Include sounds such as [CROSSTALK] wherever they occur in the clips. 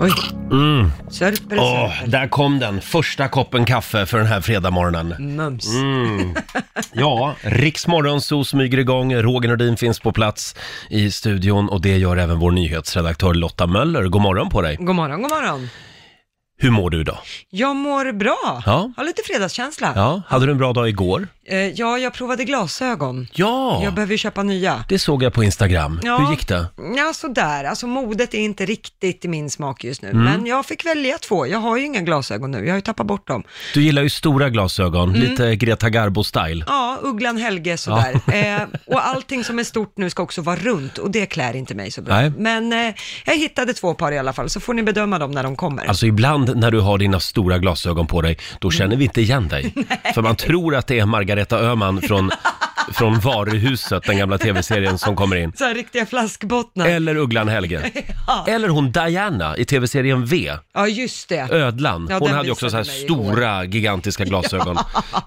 Oj, Mm. sörper och Åh, sörper. där kom den, första koppen kaffe för den här fredagmorgonen. Mums. Mm. Ja, Riksmorgonzoo smyger igång. Roger Nordin finns på plats i studion och det gör även vår nyhetsredaktör Lotta Möller. God morgon på dig! God morgon, god morgon. Hur mår du idag? Jag mår bra. Ja. Har lite fredagskänsla. Ja, hade du en bra dag igår? Eh, ja, jag provade glasögon. Ja, Jag behöver ju köpa nya. det såg jag på Instagram. Ja. Hur gick det? Ja, sådär. Alltså modet är inte riktigt i min smak just nu. Mm. Men jag fick välja två. Jag har ju inga glasögon nu. Jag har ju tappat bort dem. Mm. Du gillar ju stora glasögon, lite Greta Garbo-style. Ja, Ugglan Helge [LAUGHS] sådär. Eh, och allting som är stort nu ska också vara runt och det klär inte mig så bra. Nej. Men eh, jag hittade två par i alla fall, så får ni bedöma dem när de kommer. Alltså ibland när du har dina stora glasögon på dig, Mm. då känner vi inte [LAUGHS] igen dig. För man tror att det är Margareta Öhman från, från Varuhuset, den gamla tv-serien som kommer in. Så här riktiga flaskbottnar. Eller Ugglan Helge. [LAUGHS] Ja. Eller hon Diana i tv-serien V, ja, just det. Eh. Ödlan. Ja, Hon den hade ju också så här visade mig igår. [LAUGHS] stora, gigantiska glasögon.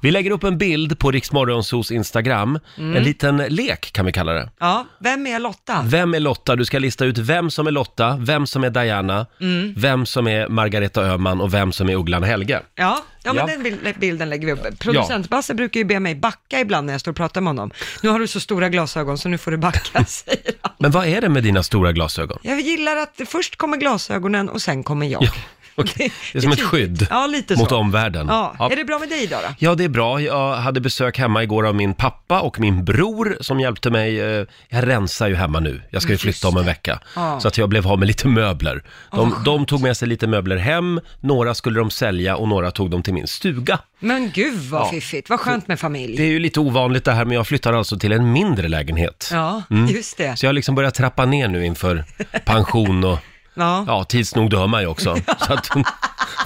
Vi lägger upp en bild på Riksmorgonsos Instagram. En liten lek kan vi kalla det. Mm. Ja, vem är Lotta? Vem är Lotta? Du ska lista ut vem som är Lotta, vem som är Diana, Mm. vem som är Margareta Öhman och vem som är Ugglan Helge. Ja, ja, men Ja. den bil- bilden lägger vi upp. Producent Basse brukar ju be mig backa ibland när jag står och pratar med honom. Nu har du så stora glasögon så nu får du [LAUGHS] backa, säger han. Men vad är det med dina stora glasögon? Jag gillar att först kommer glasögonen och sen kommer jag. Ja, okej. Det är som ett skydd typ- Ja, lite så. mot omvärlden. Ja. Ja. Är det bra med dig idag då? Ja, det är bra. Jag hade besök hemma igår av min pappa och min bror som hjälpte mig. eh, Jag rensar ju hemma nu. Jag ska ju flytta om en vecka. Mm, Ja. Så att jag blev av med lite möbler. De, de tog med sig lite möbler hem. Några skulle de sälja och några tog dem till min stuga. Men gud vad Ja. fiffigt, vad skönt med familj. Det är ju lite ovanligt det här, men jag flyttar alltså till en mindre lägenhet. Ja, just det. Mm. Så jag har liksom börjat trappa ner nu inför pension och Ja. ja. ja, tids nog dör man ju också. Så att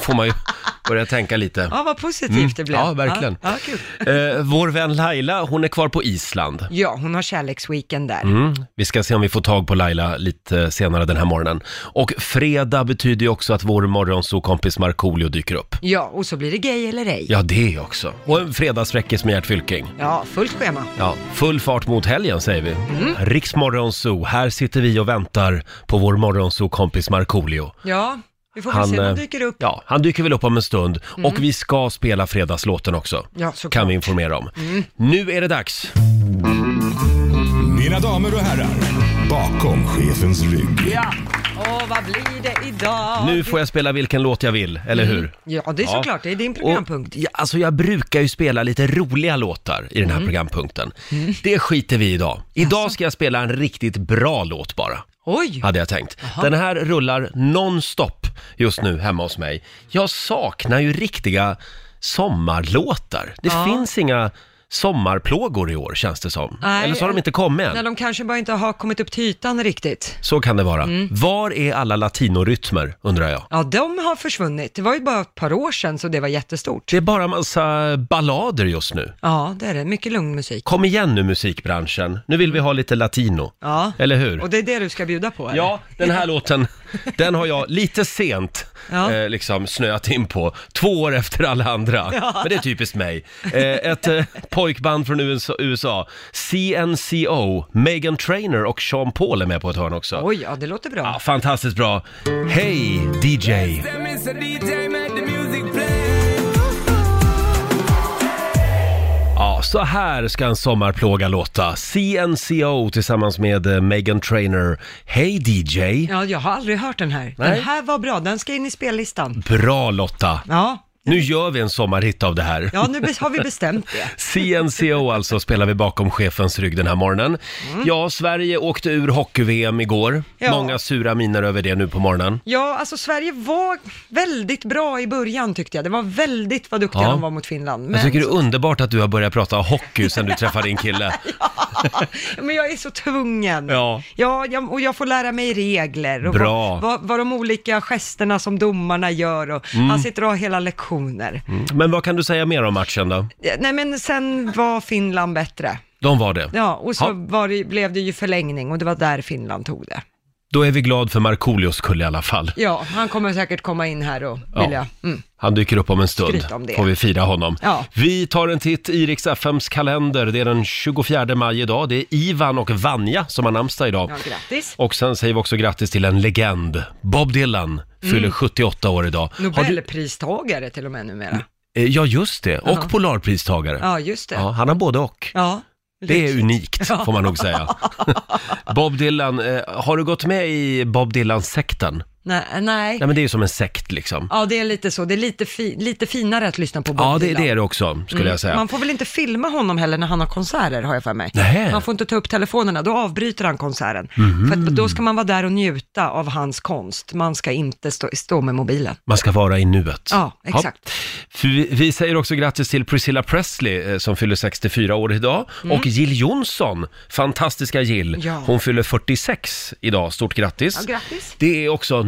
får man ju börja tänka lite. Mm. vad positivt det blev. Ja, verkligen. Ja, ja, kul. Eh, vår vän Laila, hon är kvar på Island. ja hon har kärleksweekend där. Mm. Vi ska se om vi får tag på Laila lite senare den här morgonen. Och fredag betyder ju också att vår morgonsokompis Markoolio dyker upp. Ja, och så blir det gay eller ej. Ja, Ja, det också. Och en fredagsfräckis med Gert Fylking. fullt schema. Ja, full fart mot helgen säger vi. Mm. Riksmorgonso, här sitter vi och väntar på vår morgonsokompis Markoolio. Ja, vi får väl se, eh, de dyker upp. Mm. Ja, han dyker väl upp om en stund. Och vi ska spela fredagslåten också. Ja, såklart. Mm. kan vi informera om. Nu är det dags. Mm. Mina damer och herrar, bakom chefens rygg. Ja. Åh, vad blir det idag? Nu får jag spela vilken låt jag vill, eller hur? Ja, det är Ja. såklart, det är din Och, programpunkt. ja, alltså jag brukar ju spela lite roliga låtar i den Mm. här programpunkten. Det skiter vi i idag. Idag ska jag spela en riktigt bra låt bara, Oj! hade jag tänkt. Den här rullar nonstop just nu hemma hos mig. Jag saknar ju riktiga sommarlåtar. Det Ja. finns inga sommarplågor i år känns det som. Nej, Eller så har de eller- inte kommit än. När de kanske bara inte har kommit upp till ytan riktigt. Så kan det vara. Mm. Var är alla latinorytmer, undrar jag? Ja, de har försvunnit. Det var ju bara ett par år sedan så det var jättestort. Det är bara massa ballader just nu. Ja, det är det. Mycket lugn musik. Kom igen nu musikbranschen, nu vill vi ha lite latino. Ja. Eller hur? Och det är det du ska bjuda på? eller? Ja, den här låten, den har jag lite sent Ja. eh, liksom snöat in på. Två år efter alla andra. Men det är typiskt mig. Eh, ett eh, pojkband från USA- USA, CNCO, Megan Trainer och Sean Paul är med på ett hörn också. Oj, ja det låter bra. Ja, fantastiskt bra. Hej DJ! Ja, så här ska en sommarplåga låta. CNCO tillsammans med eh, Megan Trainer. Hej DJ! Ja, jag har aldrig hört den här. Nej. Den här var bra, den ska in i spellistan. Bra Lotta! Ja, Nu gör vi en sommarhit av det här. ja nu be- har vi [LAUGHS] bestämt det. CNCO alltså spelar vi bakom chefens rygg den här morgonen. Ja, Sverige åkte ur hockey-VM igår. Mm. Ja. Många sura miner över det nu på morgonen. Ja, alltså Sverige var väldigt bra i början tyckte jag. Det var väldigt vad duktiga Ja. de var mot Finland. Jag Men, tycker det är underbart att du har börjat prata hockey sen du träffade [LAUGHS] din kille. men jag är så tvungen. Ja. Ja, jag, och jag får lära mig regler och Bra. Vad, vad, vad de olika gesterna som domarna gör och Mm. han sitter och har hela lektioner. Men vad kan du säga mer om matchen då? Ja, Nej men sen var Finland bättre. De var det. Ja, och så Ja. var det, blev det ju förlängning och det var där Finland tog det. Då är vi glad för Markoolios skull i alla fall. Ja, han kommer säkert komma in här och Ja. vilja... Mm. Han dyker upp om en stund. Skryt om det. Får vi fira honom. Ja. Vi tar en titt i Rix FMs kalender. Det är den 24 maj idag. Det är Ivan och Vanja som har namnsdag idag. Ja, grattis. Och sen säger vi också grattis till en legend. Bob Dylan fyller Mm. 78 år idag. Har du- Nobelpristagare till och med numera. Eh, Ja, just det. Och Ja. Polarpristagare. Ja, just det. Ja, Ja. han har både och. Det är unikt, får man nog säga. Bob Dylan, eh, har du gått med i Bob Dylan-sekten? [LAUGHS] Nej, nej. Nej, men det är ju som en sekt liksom. Ja, det är lite så. Det är lite, fi- lite finare att lyssna på Bob Ja, det, Dylan. det är det också, skulle jag säga. Mm. Man får väl inte filma honom heller när han har konserter, har jag för mig. Nähä. Mhm. Man får inte ta upp telefonerna, då avbryter han konserten. För att då ska man vara där och njuta av hans konst. Man ska inte stå, stå med mobilen. Man ska vara i nuet. Ja, exakt. För Vi, vi säger också grattis till Priscilla Presley eh, som fyller 64 år idag. Och Jill Johnson, fantastiska Jill. Mm. Ja. Hon fyller 46 idag. Stort grattis. Ja, grattis. Det är också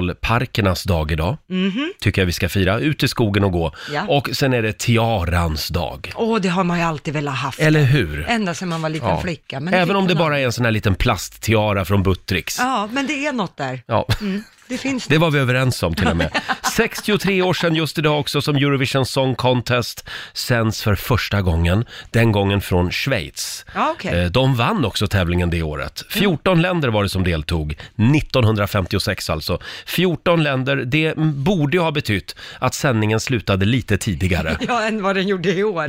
nationalparkernas dag idag. Tycker jag vi ska fira. Ut i skogen och gå. Mhm. Ja. Och sen är det tiarans dag. Åh, det har man ju alltid velat haft. Eller hur? Ända sedan man var liten Ja. flicka. Men Även om fick det man bara är en sån här liten plasttiara från Buttricks. aldrig. Ja, men det är något där. Mm. Ja. Det finns Det var vi överens om till [LAUGHS] och med. 63 år sedan just idag också som Eurovision Song Contest sänds för första gången. Den gången från Schweiz. Ja, okej. Mm. Eh, De vann också tävlingen det året. 14 länder var det som deltog. 1956 alltså. 14 länder, det borde ju ha betytt att sändningen slutade lite tidigare. [LAUGHS] Ja, än vad den gjorde i [LAUGHS] år.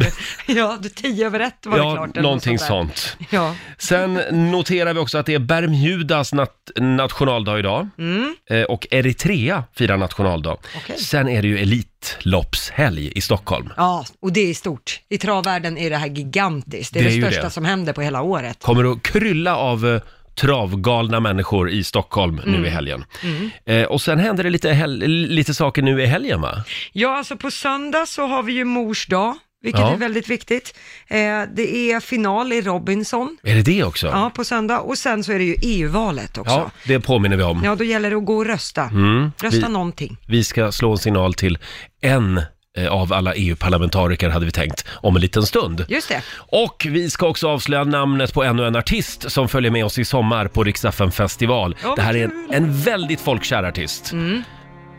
Ja, det- tio över ett var [LAUGHS] det Ja, klart. eller någonting något där. sånt. Ja. Sen noterar vi också att det är Bermudas nat- nationaldag idag. Mm. Eh, och Eritrea firar nationaldag. Okej. Sen är det ju Elitloppshelg i Stockholm. ja, och det är stort. I travvärlden är det här gigantiskt. Det är Det det, är ju största det. som händer på hela året. Kommer att krylla av eh, travgalna människor i Stockholm Mm. nu i helgen. Eh, och sen händer det lite, hel- lite saker nu i helgen va? Ja, alltså på söndag så har vi ju mors dag, vilket Ja. är väldigt viktigt. Eh, det är final i Robinson, Är det det också? ja, på söndag. Och sen så är det ju EU-valet också. Ja, Ja. det påminner vi om. Mm. då gäller det att gå och rösta. Rösta någonting. Vi ska slå en signal till en eh, av alla EU-parlamentariker hade vi tänkt om en liten stund. Just det. Och vi ska också avslöja namnet på ännu en artist som följer med oss i sommar på Riksaffen festival. Ja, det här är en, kul. Mm. en väldigt folkkär artist.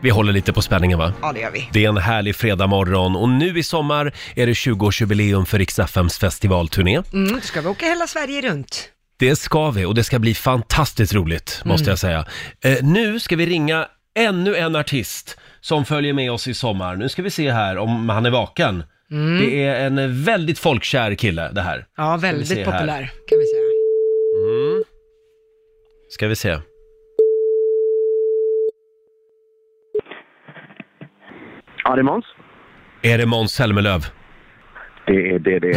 Vi håller lite på spänningen va? Ja, det gör vi. Det är en härlig fredagmorgon och nu i sommar är det 20-årsjubileum för Riksaffems festivalturné. Mm, då ska vi åka hela Sverige runt. Det ska vi och det ska bli fantastiskt roligt Mm. måste jag säga. Eh, nu ska vi ringa ännu en artist som följer med oss i sommar. Nu ska vi se här om han är vaken. Det är en väldigt folkkär kille det här. Mm. Ja, Ska vi väldigt se här. populär kan vi säga. Mm. Ska vi se. Ja, det är Måns. Är det Måns Zelmerlöw? Det är det, det är. [LAUGHS] [LAUGHS]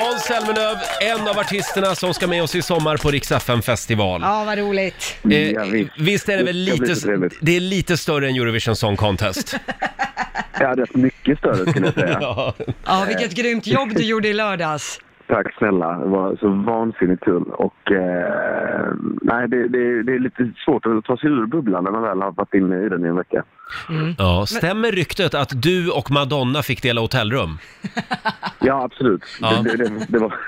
Måns Zelmerlöw, en av artisterna som ska med oss i sommar på Rix FM festival. Ja, vad roligt. Ja, Eh, visst. visst är det väl Det ska bli lite, så trevligt. det är lite större än Eurovision Song Contest? [LAUGHS] Ja, det är mycket större skulle jag säga. [LAUGHS] ja. Ja, vilket grymt jobb du gjorde i lördags. [LAUGHS] Tack snälla. Det var så vansinnigt kul. Och, eh, nej, det, det, det är lite svårt att ta sig ur bubblan när man väl har varit inne i den i en vecka. ja, stämmer ryktet att du och Madonna fick dela hotellrum? Ja, absolut. Ja. Det, det, det, det var... [LAUGHS]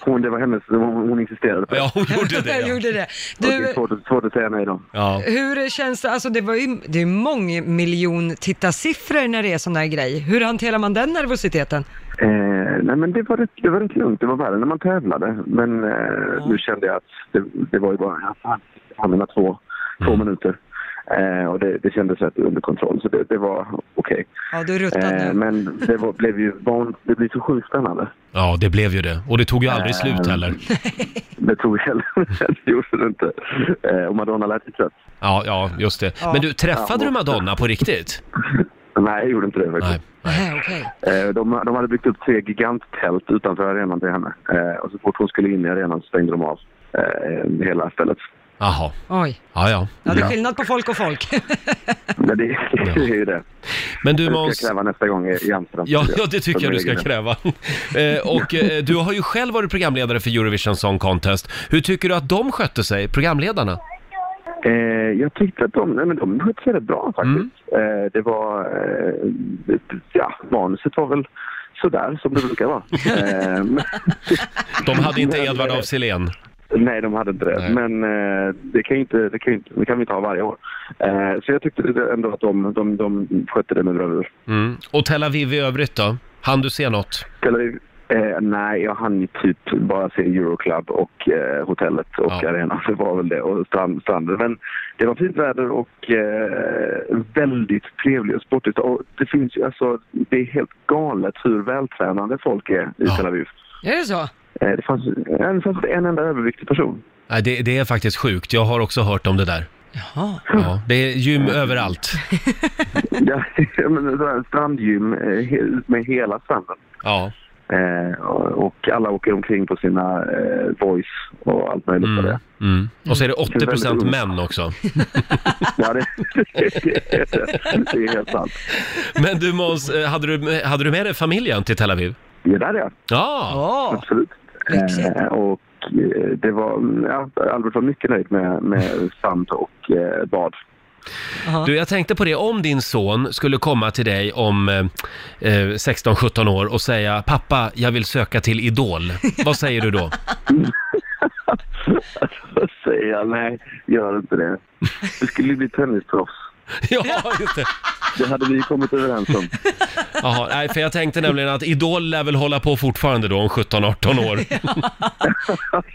Hon, det var hennes, det var, hon insisterade på det. Ja, hon gjorde det. Jag Ja. [LAUGHS] gjorde det. Och det är Du, svårt, att- svårt att säga nej då. Ja. hur känns det? Alltså det var ju, det är ju mångmiljon tittarsiffror när det är sån här grej. Hur hanterar man den nervositeten? Eh, nej, men det var, rätt, det var rätt lugnt. Det var värre när man tävlade. Men eh, nu kände jag att det, det var ju bara, ja, fan, fan mina två, Mm. två minuter. Eh, och det, det kändes rätt under kontroll, så det, det var okej. Ja, du ruttnade. Eh, men det var, blev ju van, det blev så sjukt spännande. ja, det blev ju det. Och det tog ju Äh. aldrig slut heller. Det tror jag [LAUGHS] heller det gjorde det inte. Eh, och Madonna lät ju trött. Ja, ja, just det. Men du, träffade du Madonna på riktigt? Nej, jag gjorde inte det Nej. faktiskt. Nej, okej. Eh, de, de hade byggt upp tre giganttält utanför arenan till henne. Eh, och så fort hon skulle in i arenan så stängde de av eh, hela stället. Jaha. Oj. Ja, ja. Ja, det är Ja. skillnad på folk och folk. [LAUGHS] Men det, det är [LAUGHS] ju det. Men du Det ska Måns... jag kräva nästa gång i i Amsterdam. Ja, ja, det tycker Som jag du ska regel. kräva. [LAUGHS] Eh, och eh, du har ju själv varit programledare för Eurovision Song Contest. Hur tycker du att de skötte sig, programledarna? Eh, jag tyckte att de, nej, men de skötte Mm. sig rätt bra faktiskt. Eh, det var, eh, ja, manuset var väl sådär som det brukar [LAUGHS] vara. Eh, men- De hade inte Men, Edvard eh, av Silén. Nej, de hade inte det. Nej. Men eh, det kan ju inte, det kan ju inte, det kan vi inte ha varje år. Eh, så jag tyckte det- ändå att de, de, de skötte det med bravur. Mm. Och Tel Aviv i övrigt då? Han du se något? Tel Aviv? Eh, nej, jag hann ju typ bara se Euroclub och eh, hotellet och Ja. arenan. Det var väl det. Och strand, stranden. Men det var fint väder och eh, väldigt trevligt och sportigt. Och det finns ju alltså, det är helt galet hur vältränade folk är i Ja. Tel Aviv. Är det så? Eh, det, fanns, ja, det fanns en enda överviktig person. [LAUGHS] Nej, det, det är faktiskt sjukt. Jag har också hört om det där. Jaha. Ja, det är gym överallt. Ja, men det var en strandgym eh, he- ut med hela stranden. Ja. Eh, och och alla åker omkring på sina eh, voice och allt möjligt vad det Mm. är. Mm. Och så är det Det är 80% väldigt ungt. män också. [LAUGHS] Ja, det, det är helt sant. Men du Måns, eh, hade du, hade du med dig familjen till Tel Aviv? Det där är jag, Ja! Åh, absolut. lyxigt. Eh, och eh, det var, ja, Albert var mycket nöjd med, med sand och eh, bad. Jaha. Du, jag tänkte på det, om din son skulle komma till dig om eh, eh, 16-17 år och säga “Pappa, jag vill söka till Idol”, vad säger du [LAUGHS] då? Då säger jag nej, gör inte det. Du skulle ju bli tennisproffs. [LAUGHS] [LAUGHS] Ja, just det. Det hade vi kommit överens om. Jaha, nej, för jag tänkte nämligen att Idol lär väl hålla på fortfarande då om 17-18 [LAUGHS] år.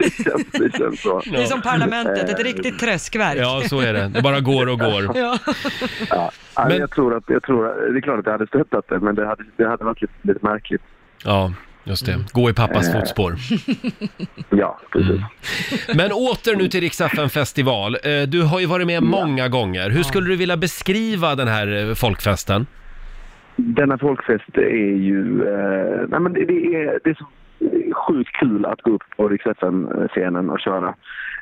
Det känns, det känns så. Det är som Parlamentet, ett riktigt träskverk. Ja, så är det. Det bara går och [LAUGHS] går. Ja. Ja, Eh, Men- Jag tror att, jag tror att, det är klart att jag hade stöttat det, men det hade, det hade varit lite, lite märkligt. Eh. Ja, just det. Gå i pappas fotspår. Ja, precis. [LAUGHS] Men åter nu till Riksdagen festival. Eh, Du har ju varit med många gånger. Hur skulle du vilja beskriva den här eh, folkfesten? Denna folkfest är ju... Eh, nej men det, det, är, det är så sjukt kul att gå upp på Rix scenen och köra.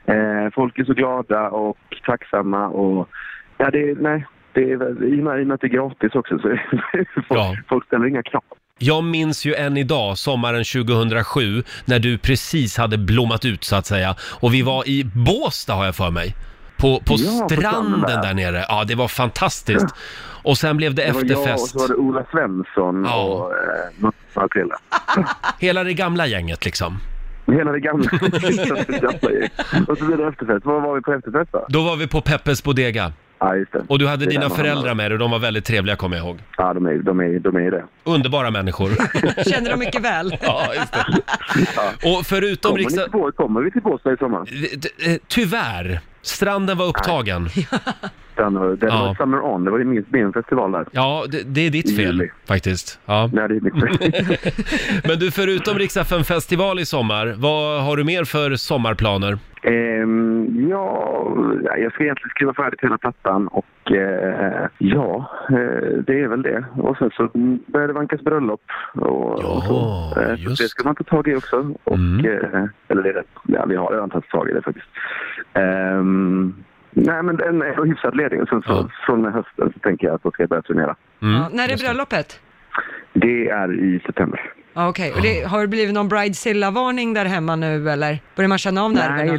Eh, folk är så glada och tacksamma och... Ja, det, är- nej, det är, väl- i, och med, I och med att det är gratis också så [LAUGHS] folk, Ja. folk ställer inga krav. Jag minns ju än idag, sommaren 2007, när du precis hade blommat ut så att säga. Och vi var i Båstad har jag för mig. På, på Ja, på stranden stranden där. där. nere. Ja, det var fantastiskt. Och sen blev det, Det var jag och efterfest. så var det Ola Svensson Ja. och eh, några till. Hela det gamla gänget liksom. Hela det [LAUGHS] gamla. [LAUGHS] och så blir det efterfest. Vad var vi på efterfest då? Då var vi på Peppes Bodega. Ja, just det. Och du hade Det är dina där man föräldrar hamnar. med dig och de var väldigt trevliga kommer jag ihåg. Ja, de är, de är, de är det. Underbara människor. Känner de mycket väl. [LAUGHS] ja, just det. Och förutom Kommer, ni riksdag... eh, till Bå- kommer vi till Båstad i sommar? Tyvärr, stranden var upptagen. [LAUGHS] Den, eh, den Ja. var Summer On. Det var ju min, min festival där. Ja, det, det är ditt fel Juli. faktiskt. Ja. Nej, det är mycket. [LAUGHS] Men du, förutom riksdagen festival i sommar, vad har du mer [LAUGHS] för sommarplaner? Ehm, ja, jag ska egentligen skriva färdigt hela plattan och eh, ja, eh, det är väl det. Och sen så börjar det vankas bröllop och, och så. Ja, Eh, just så det ska man ta tag i också. Och, Mm. eh, eller det är rätt, ja, vi har redan tagit tag i det faktiskt. Ehm, nej, men en är hyfsat ledig. Och sen så, Ja. från och med hösten så tänker jag att då ska jag börja turnera. [LAUGHS] Mm, Ja, när är just bröllopet? Det är i september. Ja, Okej, och det, har det blivit någon bridezilla-varning där hemma nu eller? Börjar man känna av nerverna? Nej,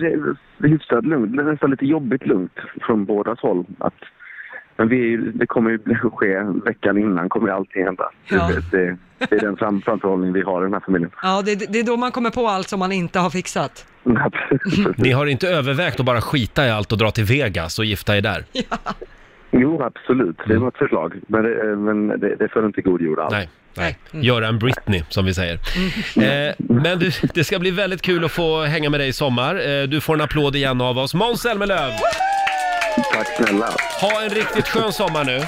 det är hyfsat lugnt. Det är nästan lite jobbigt lugnt från båda håll. Att, men vi är, ju- det kommer ju [LAUGHS] ske veckan innan, kommer ju allting hända. Ja. Det, det, det är den fram, framförhållning vi har i den här familjen. Ja, det, det är då man kommer på allt som man inte har fixat. Ni har inte övervägt att bara skita i allt och dra till Vegas och gifta [LAUGHS] er där? jo, absolut. Det var ett förslag. Men det, eh, men det, det föll inte i god jord alls. Nej. Nej. Mm. Nej. Göra en Britney, som vi säger. Eh, men du, det ska bli väldigt kul att få hänga med dig i sommar. Eh, du får en applåd igen av oss. Måns Zelmerlöw, Tack snälla. ha en riktigt skön sommar nu!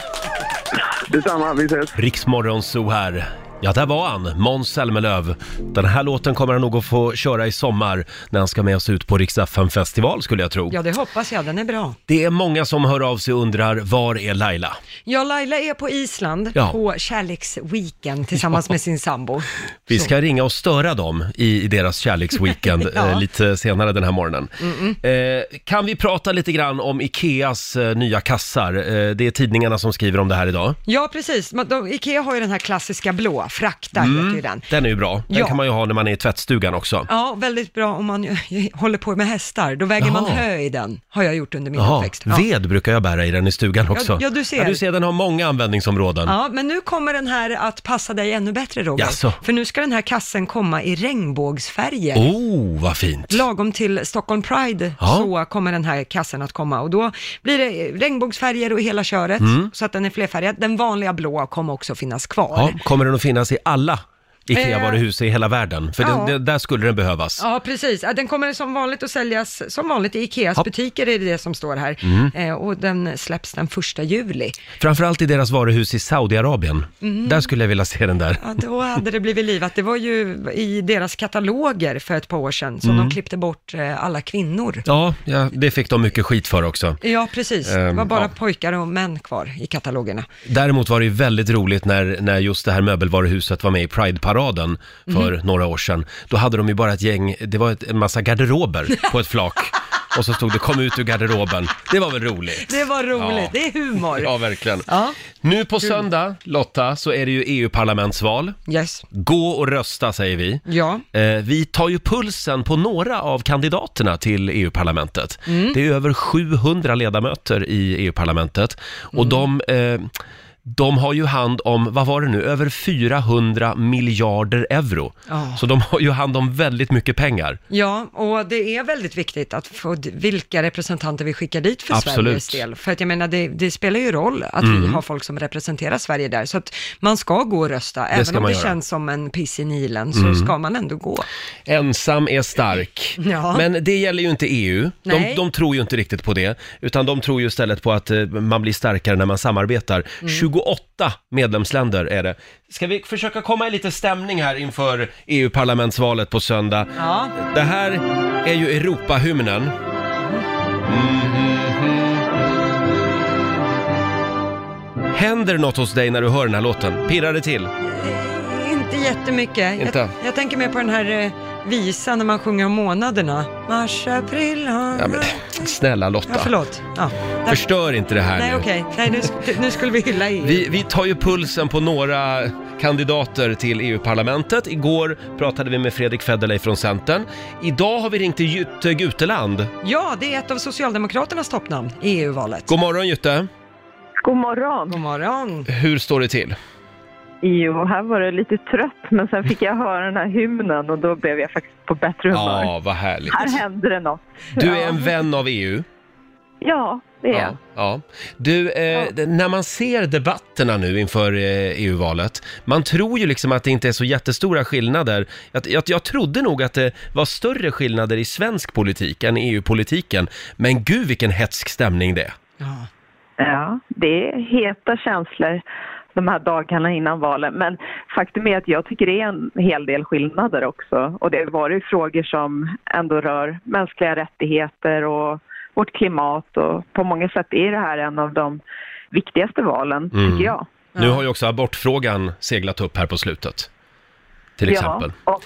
Detsamma, vi ses. Riksmorgon Zoo här. Ja, där var han, Måns Zelmerlöw. Den här låten kommer han nog att få köra i sommar när han ska med oss ut på Rix FM festival skulle jag tro. Ja, det hoppas jag. Den är bra. Det är många som hör av sig och undrar, var är Laila? Ja, Laila är på Island Ja. på kärleksweekend tillsammans med sin sambo. Vi ska ringa och störa dem i, i deras [LAUGHS] kärleksweekend Ja. eh, lite senare den här morgonen. Eh, kan vi prata lite grann om Ikeas eh, nya kassar? Eh, det är tidningarna som skriver om det här idag. Ja, precis. Men de, Ikea har ju den här klassiska blå Frakta heter ju den. Mm, Den är ju bra. Den Ja. kan man ju ha när man är i tvättstugan också. Ja, väldigt bra om man [LAUGHS] ju- håller på med hästar. Då väger man Jaha. hö i den, har jag gjort under min Jaha, uppväxt. Ja. ved brukar jag bära i den i stugan också. ja, du ser. Ja, du ser, den har många användningsområden. Ja, men nu kommer den här att passa dig ännu bättre Roger. Jaså? För nu ska den här kassen komma i regnbågsfärger. Oh, vad fint! Lagom till Stockholm Pride Ja. så kommer den här kassen att komma och då blir det regnbågsfärger och hela köret så att den är flerfärgad. Den vanliga blå kommer också finnas kvar. Ja, kommer den att finnas i alla Eh, IKEA-varuhus i hela världen? För den, ja. den, där skulle den behövas. Ja, precis. Ja, Den kommer som vanligt att säljas, som vanligt i Ikeas Ja. butiker är det det som står här. Eh, och den släpps den första juli. Framförallt i deras varuhus i Saudiarabien. Där skulle jag vilja se den där. Mm. Ja, då hade det blivit livat. Det var ju i deras kataloger för ett par år sedan som de klippte bort eh, alla kvinnor. Ja, ja, det fick de mycket skit för också. Ja, precis. Det Ehm, var bara ja. pojkar och män kvar i katalogerna. Däremot var det ju väldigt roligt när, när just det här möbelvaruhuset var med i Pride-paraden för Mhm. några år sedan. Då hade de ju bara ett gäng, det var ett, en [LAUGHS] massa garderober på ett flak. Och så stod det “Kom ut ur garderoben”. Det var väl roligt? Det var roligt. Ja. Det är humor. Ja, Ja. verkligen. Nu på söndag, Lotta, så är det ju EU-parlamentsval. Yes. Gå och rösta, säger vi. Ja. Eh, Vi tar ju pulsen på några av kandidaterna till EU-parlamentet. Det är över 700 ledamöter i EU-parlamentet och de, eh, de har ju hand om, vad var det nu, över 400 miljarder euro. Ja. Så de har ju hand om väldigt mycket pengar. Ja, och det är väldigt viktigt att få d- vilka representanter vi skickar dit för Absolut. Mm. Sveriges del. För att jag menar, det, det spelar ju roll att vi har folk som representerar Sverige där. Så att man ska gå och rösta, även ska om man det göra. Mm. känns som en piss i Nilen, så ska man ändå gå. Ensam är stark. Ja. Men det gäller ju inte EU. De, Nej. de tror ju inte riktigt på det, utan de tror ju istället på att eh, man blir starkare när man samarbetar. Mm. 28 medlemsländer är det. Ska vi försöka komma i lite stämning här inför EU-parlamentsvalet på söndag? Ja. Det här är ju Europahymnen. Mm. Mhm. Händer något hos dig när du hör den här låten? Pirrar det till? Eh, Inte jättemycket. Inte? Jag, jag tänker mer på den här eh, visan när man sjunger om månaderna. Mars, april, Ja, men, snälla ja, Lotta, förlåt. Ja. Där- förstör inte det här Nej, nu. okej. Nej, nu, sk- nu skulle vi [LAUGHS] hylla EU. Vi, vi tar ju pulsen på några kandidater till EU-parlamentet. Igår pratade vi med Fredrik Federley från Centern. Idag har vi ringt till Jytte Guteland. Ja, det är ett av Socialdemokraternas toppnamn i EU-valet. God morgon Jytte! God morgon! God morgon. Hur står det till? Jo, här var det lite trött, men sen fick jag höra den här hymnen och då blev jag faktiskt på bättre humör. Ja, vad härligt. Här hände det något. Du är en vän av EU. Ja, det är jag. Ja. ja. Du, eh, när man ser debatterna nu inför eh, EU-valet, man tror ju liksom att det inte är så jättestora skillnader. Jag, jag, jag trodde nog att det var större skillnader i svensk politik än i EU-politiken. Men gud vilken hetsk stämning det är. Ja. Ja, det är heta känslor de här dagarna innan valen. Men faktum är att jag tycker det är en hel del skillnader också. Och det har varit frågor som ändå rör mänskliga rättigheter och vårt klimat. Och på många sätt är det här en av de viktigaste valen, Mm. tycker jag. Nu har ju också abortfrågan seglat upp här på slutet. Till exempel. Ja, och,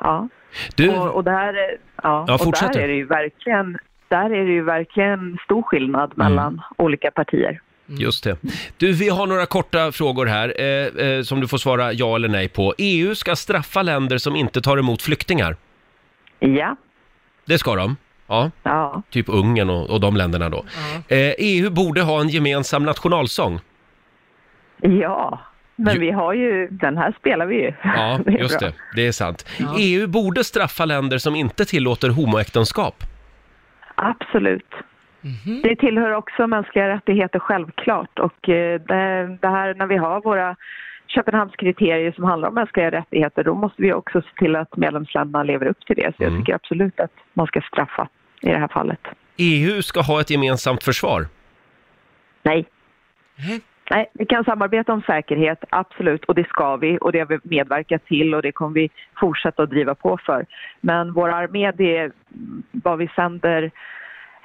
ja. Du, Och, och där, ja, Ja, och fortsätt där du. är det ju verkligen där är det ju verkligen stor skillnad Mm. mellan olika partier. just det. Du, vi har några korta frågor här eh, eh, som du får svara ja eller nej på. EU ska straffa länder som inte tar emot flyktingar. Ja, Det ska de. Ja, ja. typ Ungern och, och de länderna då. Eh, EU borde ha en [LAUGHS] gemensam nationalsång. ja. Men Ju- vi har ju, den här spelar vi ju. [LAUGHS] Ja, är just bra. det. Det är sant. Ja. EU borde straffa länder som inte tillåter homoäktenskap. Absolut. Det tillhör också mänskliga rättigheter självklart och eh, det, det här när vi har våra Köpenhamnskriterier som handlar om mänskliga rättigheter då måste vi också se till att medlemsländerna lever upp till det. Så Mm. jag tycker absolut att man ska straffa i det här fallet. EU E ska ha ett gemensamt försvar. Nej. Nej. Nej, vi kan samarbeta om säkerhet, absolut, och det ska vi och det har vi medverkat till och det kommer vi fortsätta att driva på för. Men vår armé, det är vad vi sänder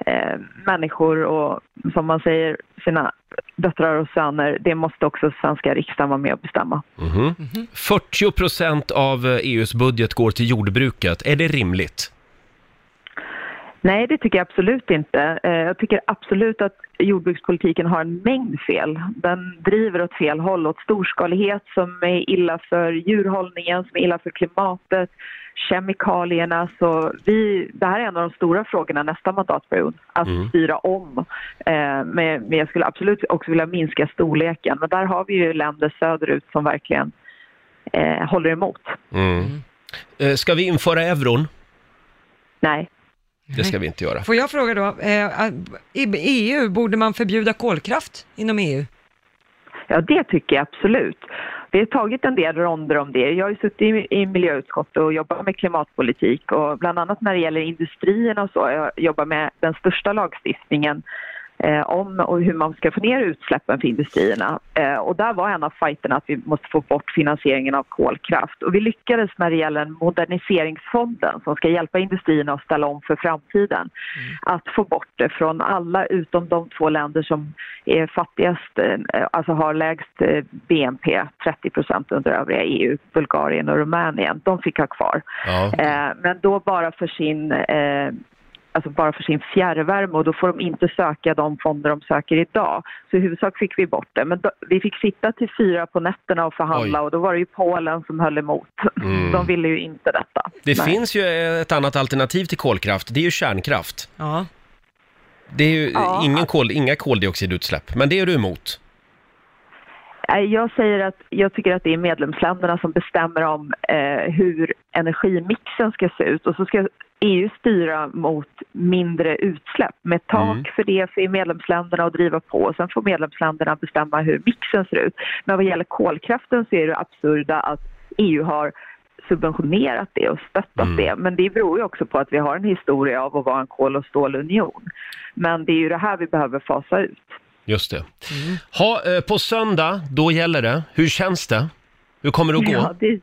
eh, människor och som man säger, sina döttrar och söner, det måste också svenska riksdagen vara med och bestämma. Mhm. 40 procent av eh, EUs budget går till jordbruket. Är det rimligt? Nej, det tycker jag absolut inte. Eh, Jag tycker absolut att jordbrukspolitiken har en mängd fel. Den driver åt fel håll, åt storskalighet som är illa för djurhållningen, som är illa för klimatet, kemikalierna. Så vi, det här är en av de stora frågorna nästa mandatperiod, att Mm. styra om. Eh, Men men jag skulle absolut också vilja minska storleken. Men där har vi ju länder söderut som verkligen eh, håller emot. Eh, Ska vi införa euron? Nej. Det ska vi inte göra. Får jag fråga då, eh, i EU, borde man förbjuda kolkraft inom E EU? Ja, det tycker jag absolut. Vi har tagit en del ronder om det. Jag har ju suttit i- i miljöutskottet och jobbat med klimatpolitik och bland annat när det gäller industrierna och så har jag jobbat med den största lagstiftningen eh, om och hur man ska få ner utsläppen för industrierna. Eh, och där var en av fighterna att vi måste få bort finansieringen av kolkraft. Och vi lyckades när det gäller moderniseringsfonden som ska hjälpa industrierna att ställa om för framtiden. Att få bort det från alla utom de två länder som är fattigast, eh, alltså har lägst eh, BNP, 30 procent under övriga EU, Bulgarien och Rumänien. De fick ha kvar. Ja. Eh, men då bara för sin eh, Alltså bara för sin fjärrvärme och då får de inte söka de fonder de söker idag. Så i huvudsak fick vi bort det. Men då, vi fick sitta till fyra på nätterna och förhandla Oj. och då var det ju Polen som höll emot. [LAUGHS] De ville ju inte detta. Det Nej. finns ju ett annat alternativ till kolkraft, det är ju kärnkraft. Ja. Det är ju Ja. ingen kol, inga koldioxidutsläpp, men det är du emot. Nej, Eh, Jag säger att jag tycker att det är medlemsländerna som bestämmer om eh, hur energimixen ska se ut och så ska EU styra mot mindre utsläpp med tak för det för medlemsländerna och driva på och sen får medlemsländerna bestämma hur mixen ser ut. Men vad gäller kolkraften så är det absurda att EU har subventionerat det och stöttat det. Men det beror ju också på att vi har en historia av att vara en kol och stålunion. Men det är ju det här vi behöver fasa ut. Just det. Ha, eh, på söndag, då gäller det. Hur känns det? Hur kommer det att gå? Ja, det,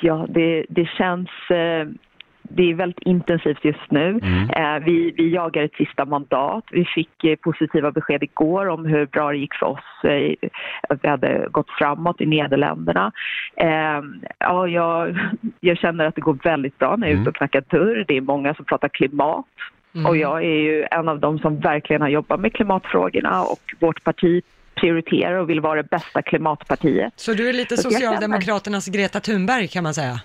ja, det, det känns... Eh, det är väldigt intensivt just nu. Mm. Eh, vi, vi jagar ett sista mandat. Vi fick eh, positiva besked igår om hur bra det gick för oss. Eh, att vi hade gått framåt i Nederländerna. Eh, ja, jag, jag känner att det går väldigt bra när jag är Mm. ute och knackar dörr. Det är många som pratar klimat. Och jag är ju en av dem som verkligen har jobbat med klimatfrågorna och vårt parti prioriterar och vill vara det bästa klimatpartiet. Så du är lite Jag känner- Socialdemokraternas Greta Thunberg kan man säga.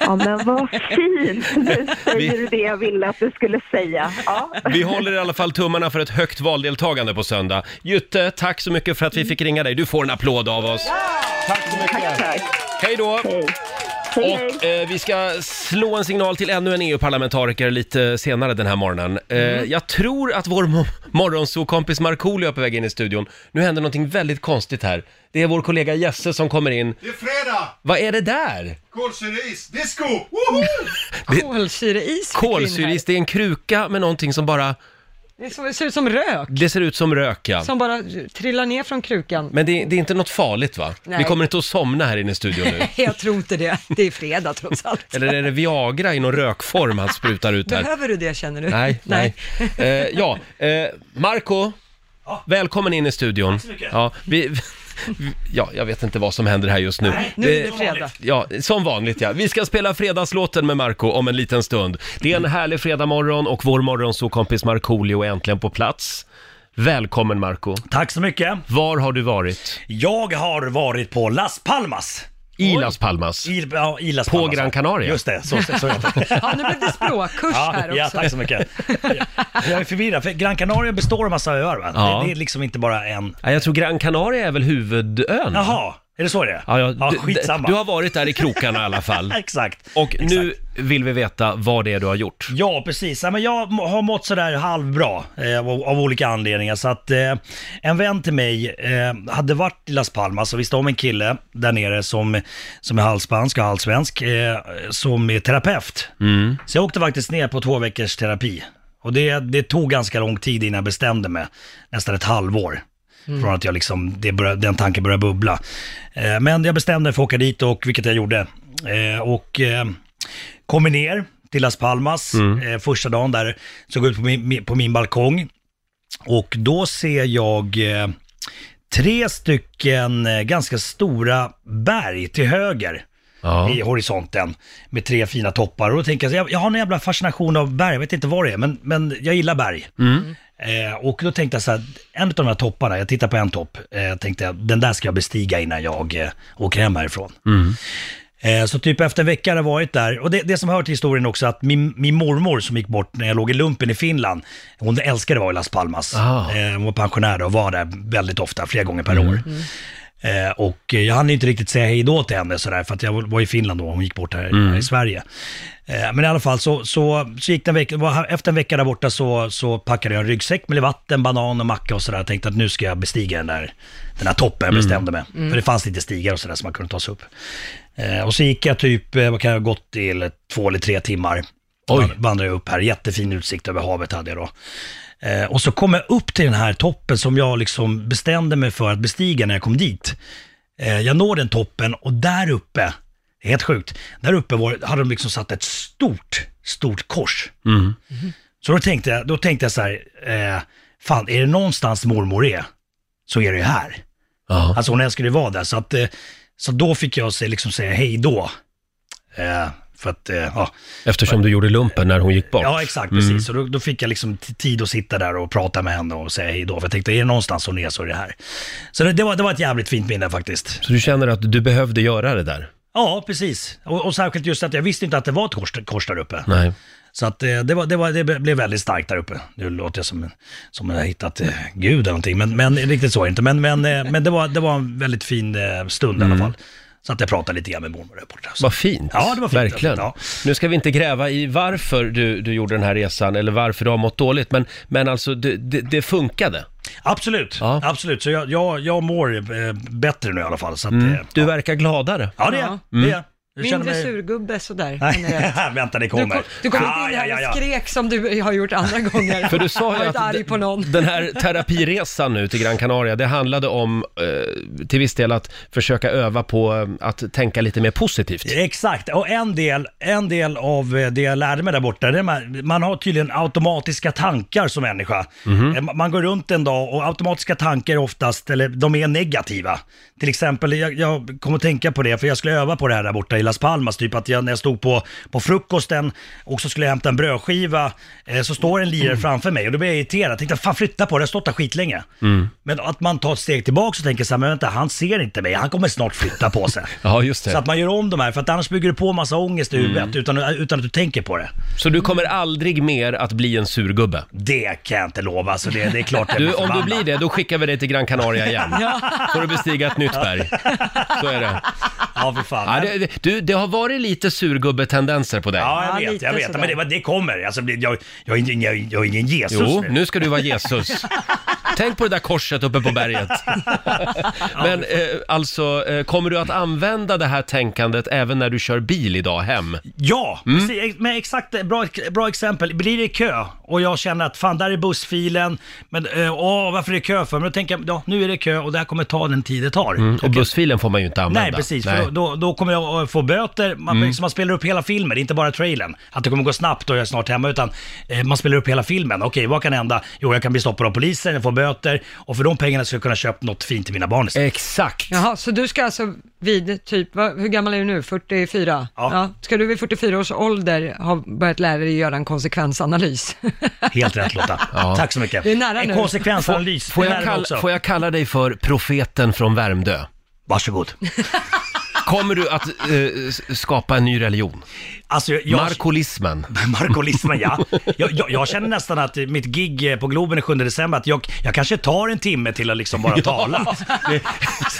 Ja, men [LAUGHS] [LAUGHS] vad fint! Nu säger du det jag ville att du skulle säga. Ja. Vi håller i alla fall tummarna för ett högt valdeltagande på söndag. Jytte, tack så mycket för att vi fick ringa dig. Du får en applåd av oss. Tack så mycket. Tack. Hej då! Hej. Hej, hej. Och eh, vi ska slå en signal till ännu en EU-parlamentariker lite senare den här morgonen. Eh, Mm. Jag tror att vår mo- morgonsokompis Markoolio är på väg in i studion. Nu händer någonting väldigt konstigt här. Det är vår kollega Jesse som kommer in. Det är fredag! Vad är det där? Kolsyreis! Disco! Woho! Kolsyreis fick vi in här. Kolsyris, det är en kruka med någonting som bara... Det är som- det ser ut som rök, Det ser ut som rök, ja. som bara trillar ner från krukan. Men det, det är inte något farligt va? Nej. Vi kommer inte att somna här inne i studion nu. [LAUGHS] Jag tror inte det, det är fredag trots allt. Eller är det Viagra i någon rökform han sprutar ut här? Behöver du det känner du? [LAUGHS] Nej, nej. Eh, ja, eh, Marco, välkommen in i studion. Tack så mycket. Ja, vi, [LAUGHS] ja, jag vet inte vad som händer här just nu. Eh, Nu är det fredag. Ja, som vanligt ja. Vi ska spela fredagslåten med Marco om en liten stund. Det är en härlig fredagmorgon och vår morgonsåkompis Markoolio är äntligen på plats. Välkommen Marco. Tack så mycket. Var har du varit? Jag har varit på Las Palmas. I Las Palmas. I, ja, i Las På Palmas. Gran Canaria. Just det, så, [LAUGHS] så, så heter det. Ja, nu blev det språkkurs här Ja, också. ja, tack så [LAUGHS] mycket. Jag är förvirrad, för Gran Canaria består av massa öar va? Ja. Det, det är liksom inte bara en. Ja, jag tror Gran Canaria är väl huvudön? Jaha, är det så det är? Ja, ja, du, skitsamma. Du har varit där i krokarna i alla fall. Exakt. Och Exakt. nu vill vi veta vad det är du har gjort. Ja, precis. Ja, men jag må- har mått sådär halvbra eh, av, av olika anledningar. Så att eh, en vän till mig eh, hade varit i Las Palmas och visste om en kille där nere som, som är halvspansk och halvsvensk, eh, som är terapeut. Mm. Så jag åkte faktiskt ner på två veckors terapi. Och det, det tog ganska lång tid innan jag bestämde mig, nästan ett halvår. Från att jag liksom, det började, den tanken började bubbla. Eh, men jag bestämde mig för att åka dit, och, vilket jag gjorde. Eh, och eh, kommer ner till Las Palmas eh, första dagen där, så går jag ut på min, min- på min balkong. Och då ser jag eh, tre stycken eh, ganska stora berg till höger. Ja. i horisonten med tre fina toppar. Och då tänker jag, så, jag, jag har en jävla fascination av berg, jag vet inte vad det är, men, men jag gillar berg. Eh, och då tänkte jag så här, en av de här topparna, jag tittar på en topp, eh, tänkte jag, den där ska jag bestiga innan jag eh, åker hem härifrån. Eh, Så typ efter en vecka hade jag varit där. Och det, det som hör till historien också att min, min mormor som gick bort när jag låg i lumpen i Finland, hon älskade att vara i Las Palmas. Ah. Eh, Hon var pensionär då och var där väldigt ofta, flera gånger per år. Eh, Och eh, jag hann inte riktigt säga hej då till henne sådär, för att jag var i Finland då, hon gick bort här här i Sverige. Eh, Men i alla fall så, så, så gick det en vecka, var- efter en vecka där borta så, så packade jag en ryggsäck med vatten, banan och macka och sådär. Tänkte att nu ska jag bestiga den där, den där toppen jag bestämde mig. För det fanns lite stigar och sådär som man kunde ta sig upp. Eh, Och så gick jag typ, eh, vad kan jag ha gått till, två eller tre timmar. Oj. Vand- Vandrade jag upp här, jättefin utsikt över havet hade jag då. Eh, Och så kom jag upp till den här toppen som jag liksom bestämde mig för att bestiga när jag kom dit. Eh, Jag når den toppen och där uppe, det är helt sjukt, där uppe var, hade de liksom satt ett stort, stort kors. Mm. Så då tänkte jag, då tänkte jag så här, eh, fan är det någonstans mormor är, så är det ju här. Ja. Alltså hon älskade ju vara där, så, att, eh, så då fick jag se, liksom säga hej då. Eh, för att, eh, ja. Eftersom du gjorde lumpen när hon gick bort. Mm. ja, exakt, precis. Så då, då fick jag liksom t- tid att sitta där och prata med henne och säga hej då. För jag tänkte, är det någonstans hon är så är det här. Så det, det, var, det var ett jävligt fint minne faktiskt. Så du känner att du behövde göra det där? Ja, precis. Och, och särskilt just att jag visste inte att det var ett kors, kors där uppe. Nej. Så att eh, det, var, det, var, det blev väldigt starkt där uppe. Nu låter jag som, en- som jag har hittat eh, Gud eller någonting, men, men riktigt så är det inte. Men, men, eh, men det, var, det var en väldigt fin eh, stund i alla fall. Så att jag pratade lite grann med mormor där borta. Så. Mm. Vad fint. Ja, det var fint. Verkligen. Ja. Nu ska vi inte gräva i varför du, du gjorde den här resan eller varför du har mått dåligt, men, men alltså det, det, det funkade. Absolut, Ja. absolut. Så jag, jag, jag mår eh, bättre nu i alla fall. Så att, eh, Mm. Du verkar gladare. Mm. Ja, det är Ja. jag. Det är jag. jag. känner Mindre mig- surgubbe sådär. generellt. Nej, [LAUGHS] vänta det Du, kommer. kom- du kommer inte Ah, in det ja, här ja, och ja. skrek som du har gjort andra gånger. För du sa ju Varit att arg på någon. d- den här terapiresan nu till Gran Canaria, det handlade om eh, till viss del att försöka öva på eh, att tänka lite mer positivt. Exakt, och en del, en del av eh, det jag lärde mig där borta, det är man, man har tydligen automatiska tankar som människa. Eh, ma- Man går runt en dag och automatiska tankar är oftast, eller de är negativa. Till exempel, jag, jag kom att tänka på det, för jag skulle öva på det här där borta i Las Palmas, typ att jag, när jag stod på, på frukosten och så skulle jag hämta en brödskiva, eh, så står en lirare framför mig och då blir jag irriterad. Tänkte, fan flytta på det, jag har stått där skitlänge. Mm. Men att man tar ett steg tillbaka och tänker så här, men vänta, han ser inte mig, han kommer snart flytta på sig. Ja, just det. Så Så, att man gör om de här, för att annars bygger du på massa ångest i Mm. huvudet utan, utan att du tänker på det. du kommer aldrig mer att bli en surgubbe. Det kan jag inte lova, så det, det är klart jag Du, blir om du förbannad. blir det, då skickar vi dig till Gran Canaria igen. Får du bestiga ett nytt berg. Så är det. Ja, för fan. Ja, det, det- du, det har varit lite surgubbetendenser på dig. Ja, Ja, jag vet, lite jag vet. sådär. Men det, men det kommer. Alltså, det- jag, jag, är ingen- jag, jag är ingen Jesus Jo, nu. nu ska du vara Jesus. Tänk på det där korset uppe [LAUGHS] på berget. Men eh, alltså, eh, kommer du att använda det här tänkandet även när du kör bil idag hem? Ja, Mm. precis. men exakt, eh, bra, bra exempel. Blir det kö och jag känner att fan, där är bussfilen, men eh, åh, varför är det kö för? Men då tänker jag, ja, nu är det kö och det här kommer ta den tid det tar. Mm, Och bussfilen får man ju inte använda. Mm. Nej, precis. För då- då, då kommer jag att få böter. Man, liksom, man spelar upp hela filmen, inte bara trailern. Att det kommer gå snabbt och jag är snart hemma, utan eh, man spelar upp hela filmen. Okej, vad kan hända? Jo, jag kan bli stoppad av polisen, jag får böter och för de pengarna ska jag kunna köpa något fint till mina barn istället. Exakt. Jaha, så du ska alltså vid typ, vad, hur gammal är du nu? 44? Ja. Ska du vid 44 års ålder ha börjat lära dig göra [LAUGHS] en konsekvensanalys? Helt rätt Lotta. [LAUGHS] Ja. Tack så mycket. Det är nära en nu. konsekvensanalys. Får det jag, lärde mig kall, också. får jag kalla dig för profeten från Värmdö? Varsågod. [LAUGHS] Kommer du att eh, s- skapa en ny [LAUGHS] religion? Alltså, jag, jag, Markolismen. [LAUGHS] Markolismen, [LAUGHS] ja. Jag, jag, jag känner nästan att mitt gig eh, på Globen den 7 december, att jag, jag kanske tar en timme till att liksom [LAUGHS] bara tala.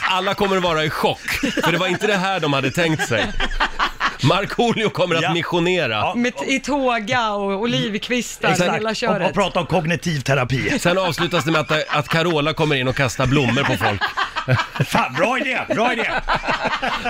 Alla kommer att vara i chock, för det var inte det här de hade tänkt sig. Markoolio kommer att Ja. missionera. Ja. Med, I tåga och olivkvistar, hela Och, och köret. prata om kognitiv terapi. Sen avslutas det med att, att Carola kommer in och kastar blommor på folk. Fan, bra idé, bra idé!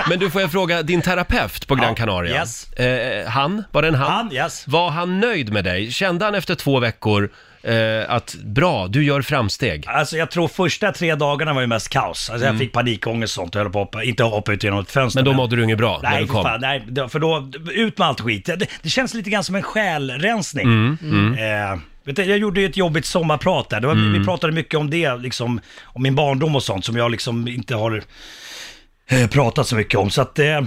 Men du, får jag fråga, din terapeut på Gran Ja, Canaria, yes. eh, han, var det en han? Han, yes. Var han nöjd med dig? Kände han efter två veckor eh, att bra, du gör framsteg? Mm. Alltså jag tror första tre dagarna var ju mest kaos. Alltså jag fick panikångest och sånt och höll på att hoppa, inte hoppa ut genom ett fönster. Men då mådde du inget bra när Nej, du för kom? fan, nej, då- för då, ut med allt skit. Det, det känns lite grann som en själrensning. Mm, Eh, vet du, jag gjorde ju ett jobbigt sommarprat där. Det var, Mm. Vi pratade mycket om det, liksom, om min barndom och sånt som jag liksom inte har eh, pratat så mycket om. Så att, eh,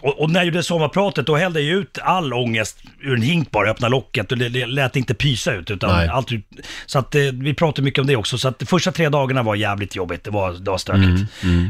Och, och när jag gjorde sommarpratet, då hällde jag ut all ångest ur en hink bara, öppna locket och det, det lät inte pysa ut. Utan Nej. allt, ut- så att eh, vi pratade mycket om det också. Så att de första tre dagarna var jävligt jobbigt, det var, det var stökigt.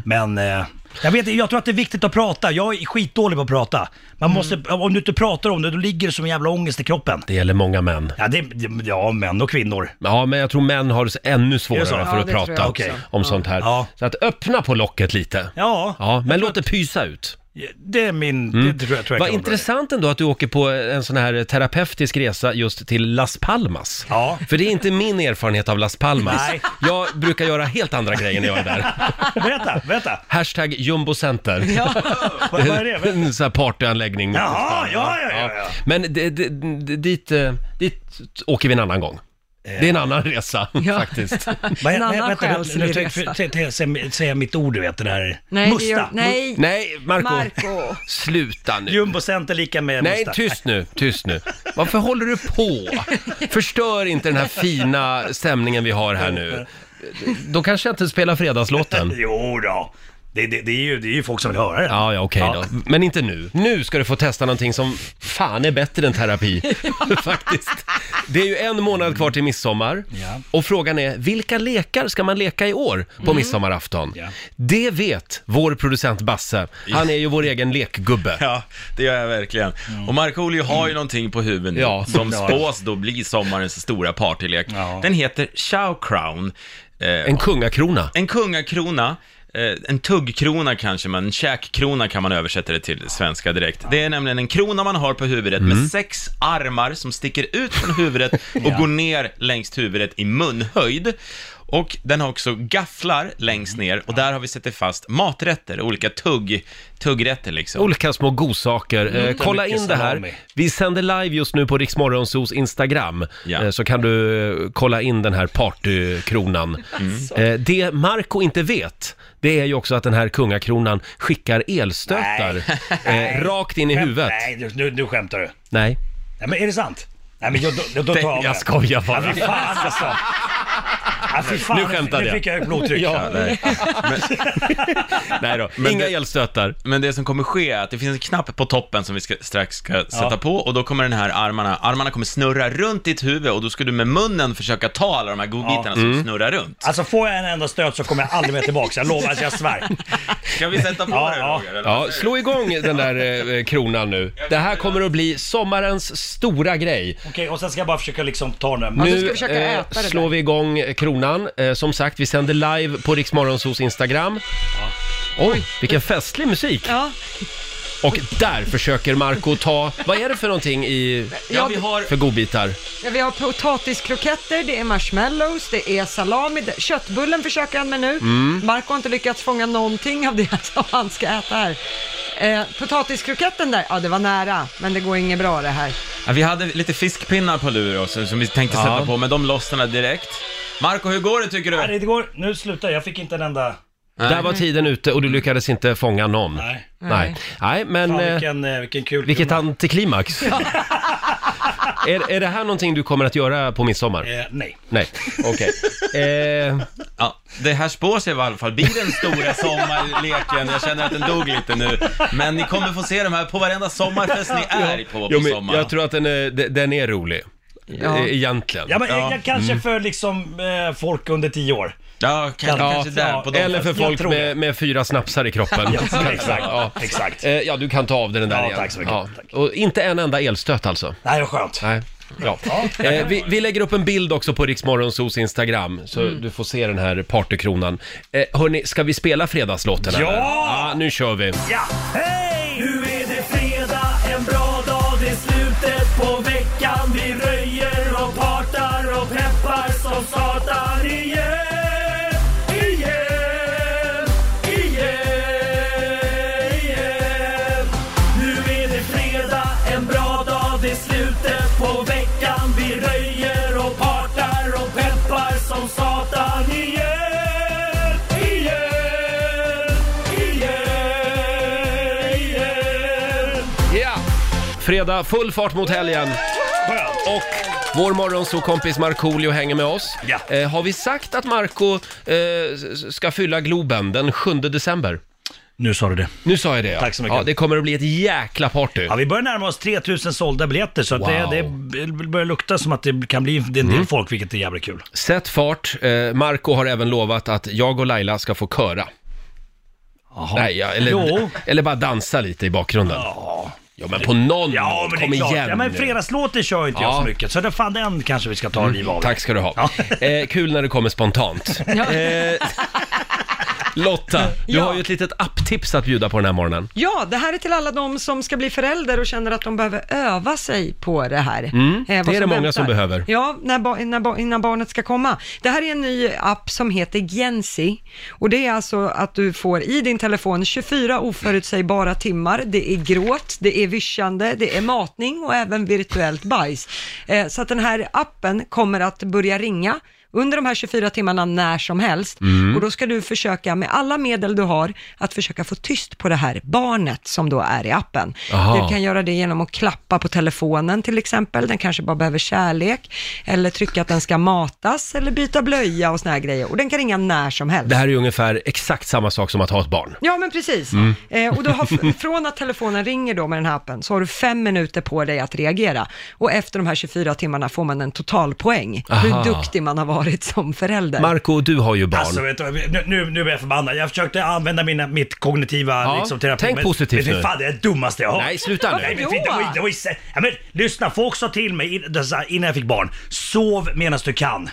Men eh, jag, vet, jag tror att det är viktigt att prata. Jag är skitdålig på att prata. Man måste, om du inte pratar om det, då ligger det som en jävla ångest i kroppen. Mm. Det gäller många män. Ja, det, det- ja män och kvinnor. Ja, men jag tror män har det ännu svårare Är det så? för Ja, att det tror jag prata också. om sånt här. Ja. Så att öppna på locket lite. Ja, Ja, men låt det pysa ut. Mm. det är min... Det tror jag, tror jag Vad kan vara bra. intressant ändå att du åker på en sån här terapeutisk resa just till Las Palmas. Ja. För det är inte min erfarenhet av Las Palmas. Nej. Jag brukar göra helt andra grejer när jag är där. [LAUGHS] Berätta, berätta. Hashtag jumbocenter. [LAUGHS] Vad, vad är det? En sån här partyanläggning. mitt i Jaha, stan. ja, ja, ja, ja. Men det, det, det, dit, eh, dit åker vi en annan gång. Det är en annan resa Ja. [LAUGHS] faktiskt. Eh. Vad- En nej, annan vänta, nu- själslig nu tänk- resa. tänk- tänk- säg- Säg mitt ord du vet, den här... Nej, musta. det gör, nej, Nej, Marco. Marco. Sluta nu. Jumbocenter lika med Nej, musta. tyst nu, tyst nu. Varför håller du på? Förstör inte den här fina stämningen vi har här nu. Då kanske jag inte spelar fredagslåten. [LAUGHS] Jo då. Det, det, det, är ju, det är ju folk som vill höra det. Ja, ja, okej Ja. då. Men inte nu. Nu ska du få testa någonting som fan är bättre [LAUGHS] än terapi. [LAUGHS] Faktiskt. Det är ju en månad kvar till midsommar. Ja. Mm. Och frågan är, vilka lekar ska man leka i år på midsommarafton? Ja. Det vet vår producent Basse. Han är ju vår egen lekgubbe. Ja, det gör jag verkligen. Och Markoolio har ju någonting på huvudet nu, Mm. Ja. som Ja. spås då bli sommarens stora partylek. Ja. Den heter Chow Crown. Eh, En kungakrona. en kungakrona, eh, en tuggkrona kanske, men en käkkrona kan man översätta det till svenska direkt. Det är nämligen en krona man har på huvudet Mm. med sex armar som sticker ut från [LAUGHS] huvudet och går ner längst huvudet i munhöjd. Och den har också gafflar längst ner och där har vi satt fast maträtter, olika tugg, tuggrätter liksom. Olika små godsaker. Eh, kolla mycket in det här. salami. Vi sänder live just nu på Rix Morgonzoos Instagram. Ja. Eh, så kan du eh, kolla in den här partykronan. [LAUGHS] Mm. Eh, det Marco inte vet, det är ju också att den här kungakronan skickar elstötar eh, rakt in i huvudet. Nej, du- nu, nu skämtar du. Nej, Nej, men är det sant? Nej, men jag, då, då, då tar jag av jag det. skojar bara. Ja, fy fan alltså. Ja, fy Ah, fan, Nu skämtade Nu jag. fick jag blodtryck. Ja, nej. Nej då, Men inga det- elstötar. Men det som kommer ske är att det finns en knapp på toppen som vi ska, strax ska sätta Ja. på och då kommer den här armarna, armarna kommer snurra runt ditt huvud och då ska du med munnen försöka ta alla de här godbitarna som snurrar runt. Alltså får jag en enda stöt så kommer jag aldrig mer tillbaka. Jag lovar, alltså, jag svär. Ska vi sätta på Ja, det ja. Roger? eller? Ja, slå igång den där eh, kronan nu. Det här kommer att bli sommarens stora grej. Okej, och sen ska jag bara försöka liksom ta den där. du ska Nu försöka eh, äta det slår där. vi igång kronan. Eh, som sagt, vi sänder live på Riksmorgonsos Instagram. Oj, vilken festlig musik! Ja, Och där försöker Marco ta, vad är det för någonting i, Ja, vi har... för godbitar? Ja, vi har potatiskroketter, det är marshmallows, det är salami, det, köttbullen försöker han med nu. Mm. Marco har inte lyckats fånga någonting av det [LAUGHS] som han ska äta här. Eh, potatiskroketten där, ja det var nära, men det går inget bra det här. Ja, vi hade lite fiskpinnar på lur också, som vi tänkte sätta Ja. på, men de lossnade direkt. Marco, hur går det tycker du? Nej, det går. Nu slutar jag. Jag fick inte en enda. Där var tiden ute och du lyckades inte fånga någon. Nej. Nej, Nej men Fan, eh, vilken, eh, vilken kul [LAUGHS] vilket antiklimax. är, är det här någonting du kommer att göra på midsommar? Eh, nej. Nej, [LAUGHS] okej. Eh, Ja, det här spår sig i alla fall bli [LAUGHS] den stora sommarleken. Jag känner att den dog lite nu. Men ni kommer få se de här på varenda sommarfest ni är på jo, på men sommaren. jag tror att den är, den är rolig. E- Egentligen. Mm. Ja, men eh, jag kanske Mm. för liksom eh, folk under tio år. Ja, kanske, Ja, kanske där ja, på de Eller för Jag folk tror med, med fyra snapsar i kroppen. Ja, [LAUGHS] exakt. Ja. exakt. Eh, Ja, du kan ta av dig den där Ja, igen. tack så mycket. Tack. Och inte en enda elstöt alltså? Nej, vad skönt. Nej. Ja. Eh, vi, vi lägger upp en bild också på Riksmorgonsos Instagram, så Mm. du får se den här partykronan. Eh, hörni, ska vi spela fredagslåten? Ja! eller? ja! Nu kör vi! Ja! Hej! Nu är det fredag, en bra dag, det är slutet på veckan. Vi röjer och partar och peppar som satan igen. Igen, igen, igen. Nu är det fredag, en bra dag, det är slutet på veckan. Vi röjer och partar och peppar som satan igen. Igen, igen, igen. Ja! Fredag, full fart mot helgen! Skönt. Och vår morgonsåkompis Markoolio hänger med oss. Ja. Eh, har vi sagt att Marco eh, s- s- ska fylla Globen den 7 december? Nu sa du det. Nu sa jag det ja. Tack så mycket. Ja, det kommer att bli ett jäkla party. Ja, vi börjar närma oss 3000 sålda biljetter så att Wow. det, det börjar lukta som att det kan bli en del Mm. folk, vilket är jävligt kul. Sätt fart. Eh, Marco har även lovat att jag och Laila ska få köra. Jaha. Nej, ja, eller, Jo. eller bara dansa lite i bakgrunden. Ja, men på någon Ja, men Kom det är klart. igen Ja, men nu. fredagslåten kör inte Ja. Mm, jag så mycket. Så det fan den kanske vi ska ta och riva av. Tack ska du ha. Ja. Eh, kul när det kommer spontant. [LAUGHS] Eh, Lotta, du Ja. har ju ett litet apptips att bjuda på den här morgonen. Ja, det här är till alla de som ska bli förälder och känner att de behöver öva sig på det här. Eh, vad Mm. det är det som många som behöver. Ja, när ba- innan, ba- innan barnet ska komma. Det här är en ny app som heter Gensi och det är alltså att du får i din telefon 24 oförutsägbara timmar. Det är gråt, det är vischande, det är matning och även virtuellt bajs. Eh, så att den här appen kommer att börja ringa under de här 24 timmarna när som helst. Och då ska du försöka med alla medel du har att försöka få tyst på det här barnet som då är i appen. Aha. Du kan göra det genom att klappa på telefonen till exempel. Den kanske bara behöver kärlek. Eller trycka att den ska matas eller byta blöja och såna här grejer. Och den kan ringa när som helst. Det här är ju ungefär exakt samma sak som att ha ett barn. Ja, men precis. Mm. Eh, och du har, f- [LAUGHS] från att telefonen ringer då med den här appen så har du fem minuter på dig att reagera. Och efter de här 24 timmarna får man en totalpoäng. Aha. Hur duktig man har varit som förälder. Marco, du har ju barn. Alltså, vet du, nu, nu, nu är jag förbannad. Jag försökte använda mina, mitt kognitiva Ja, liksom, terapi. tänk men, positivt men, nu. nu. Fan, det är det dummaste jag har Nej, sluta Nej, nu. men, det var, ju- det var ju, se- ja, men, lyssna, folk sa till mig in- det sa- innan jag fick barn, sov medan du kan.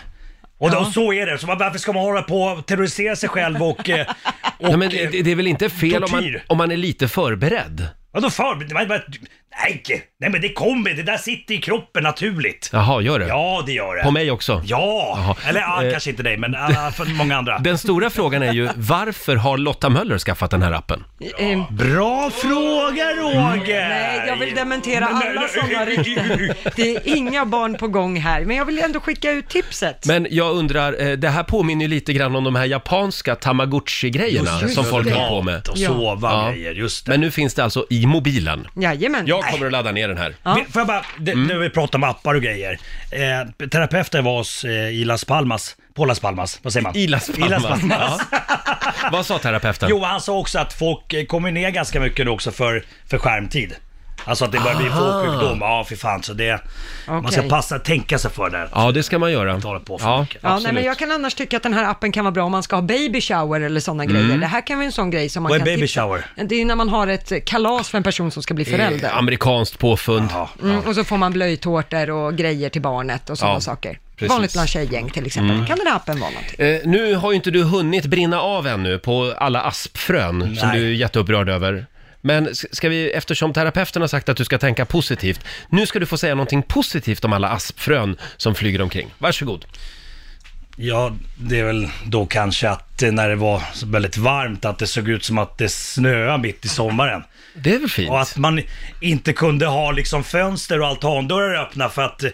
Och då, så är det. Så varför ska man hålla på och terrorisera sig själv och... eh, och [LAUGHS] Nej, men eh, det, det är väl inte fel om man, tortyr. om man är lite förberedd? Vadå för? Det var- det var- Nej, nej men det kommer, det där sitter i kroppen naturligt. Jaha, gör det? Ja, det gör det. På mig också? Ja! Jaha. Eller ja, Eh. kanske inte dig, men ah, för många [LAUGHS] andra. Den stora frågan är ju, varför har Lotta Möller skaffat den här appen? Eh, Mm. Bra fråga Roger! Nej, jag vill dementera Men- alla [LAUGHS] sådana rykten. Det är inga barn på gång här, men jag vill ändå skicka ut tipset. Men jag undrar, eh, det här påminner ju lite grann om de här japanska tamagotchi-grejerna som folk höll på med. Och Ja. sova Ja. grejer, just det. Men nu finns det alltså i mobilen. Jajamän. Jag kommer att ladda ner den här. Ja. Vi- Får jag bara, det, nu vi pratar om appar och grejer. Eh, terapeuten var oss eh, i Las Palmas, på Las Palmas, vad säger man? I Las Palmas. I Las Palmas. Vad sa terapeuten? Jo, han sa också att folk eh, kommer ner ganska mycket nu också för, för skärmtid. Alltså att det börjar bli folksjukdom, ja för fan så det... Man ska Okej. passa, tänka sig för där. Ja, det ska man göra. Inte hålla på för Ja, mycket. Ja, nej, men absolut. jag kan annars tycka att den här appen kan vara bra om man ska ha baby shower eller sådana grejer. Det här kan vara en sån grej som man Mm. Vad är kan baby tipsa- shower? Det är ju när man har ett kalas för en person som ska bli förälder. Eh, Amerikanskt påfund. Ja. Mm, och så får man blöjtårtor och grejer till barnet och sådana Ja, saker. precis. Vanligt bland tjejgäng till exempel. Mm. Kan den här appen vara någonting? Eh, nu har ju inte du hunnit brinna av ännu på alla aspfrön som Nej. du är jätteupprörd över. Men s- ska vi, eftersom terapeuten har sagt att du ska tänka positivt, nu ska du få säga någonting positivt om alla aspfrön som flyger omkring. [LAUGHS] Varsågod. Ja, det är väl då kanske att eh, när det var så väldigt varmt att det såg ut som att det snöade mitt i sommaren. Det är väl fint? Och att man inte kunde ha liksom fönster och altandörrar öppna för att eh,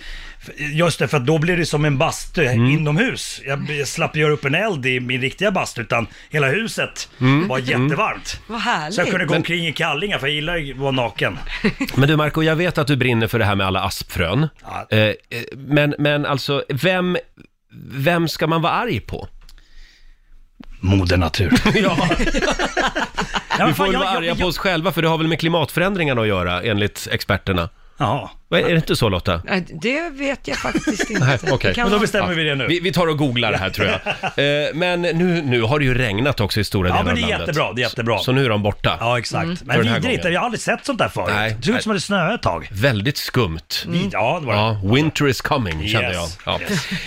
Just det, för att då blir det som en bastu Mm. inomhus. Jag jag slapp göra upp en eld i min riktiga bastu utan hela huset Mm. var jättevarmt. Vad härligt. Så jag kunde gå omkring i kallingar för jag gillar ju att vara naken. Men du Marco, jag vet att du brinner för det här med alla aspfrön. Ja. Eh, eh, men, men alltså, vem, vem ska man vara arg på? Moder natur. Ja, Ja, vi får väl jag- vara jag- arga jag- på oss själva för det har väl med klimatförändringarna att göra enligt experterna. Jaha. Va, Är det inte så Lotta? Nej, eh, Det vet jag [LAUGHS] faktiskt inte. Nej, okej. Det kan Men då vara- bestämmer vi det nu. Vi, vi tar och googlar det här tror jag. [LAUGHS] Eh, men nu, nu har det ju regnat också i stora Ja, delar men det är av landet. jättebra, det är jättebra. Så, så nu är de borta. Ja, exakt. Mm. För Men den här vidrigt, gången. jag har aldrig sett sånt där förut. Nej. Det såg ut som att det snöade ett tag. Väldigt skumt. Vid- Ja, det var det. Ja, winter is coming kände jag. Yes.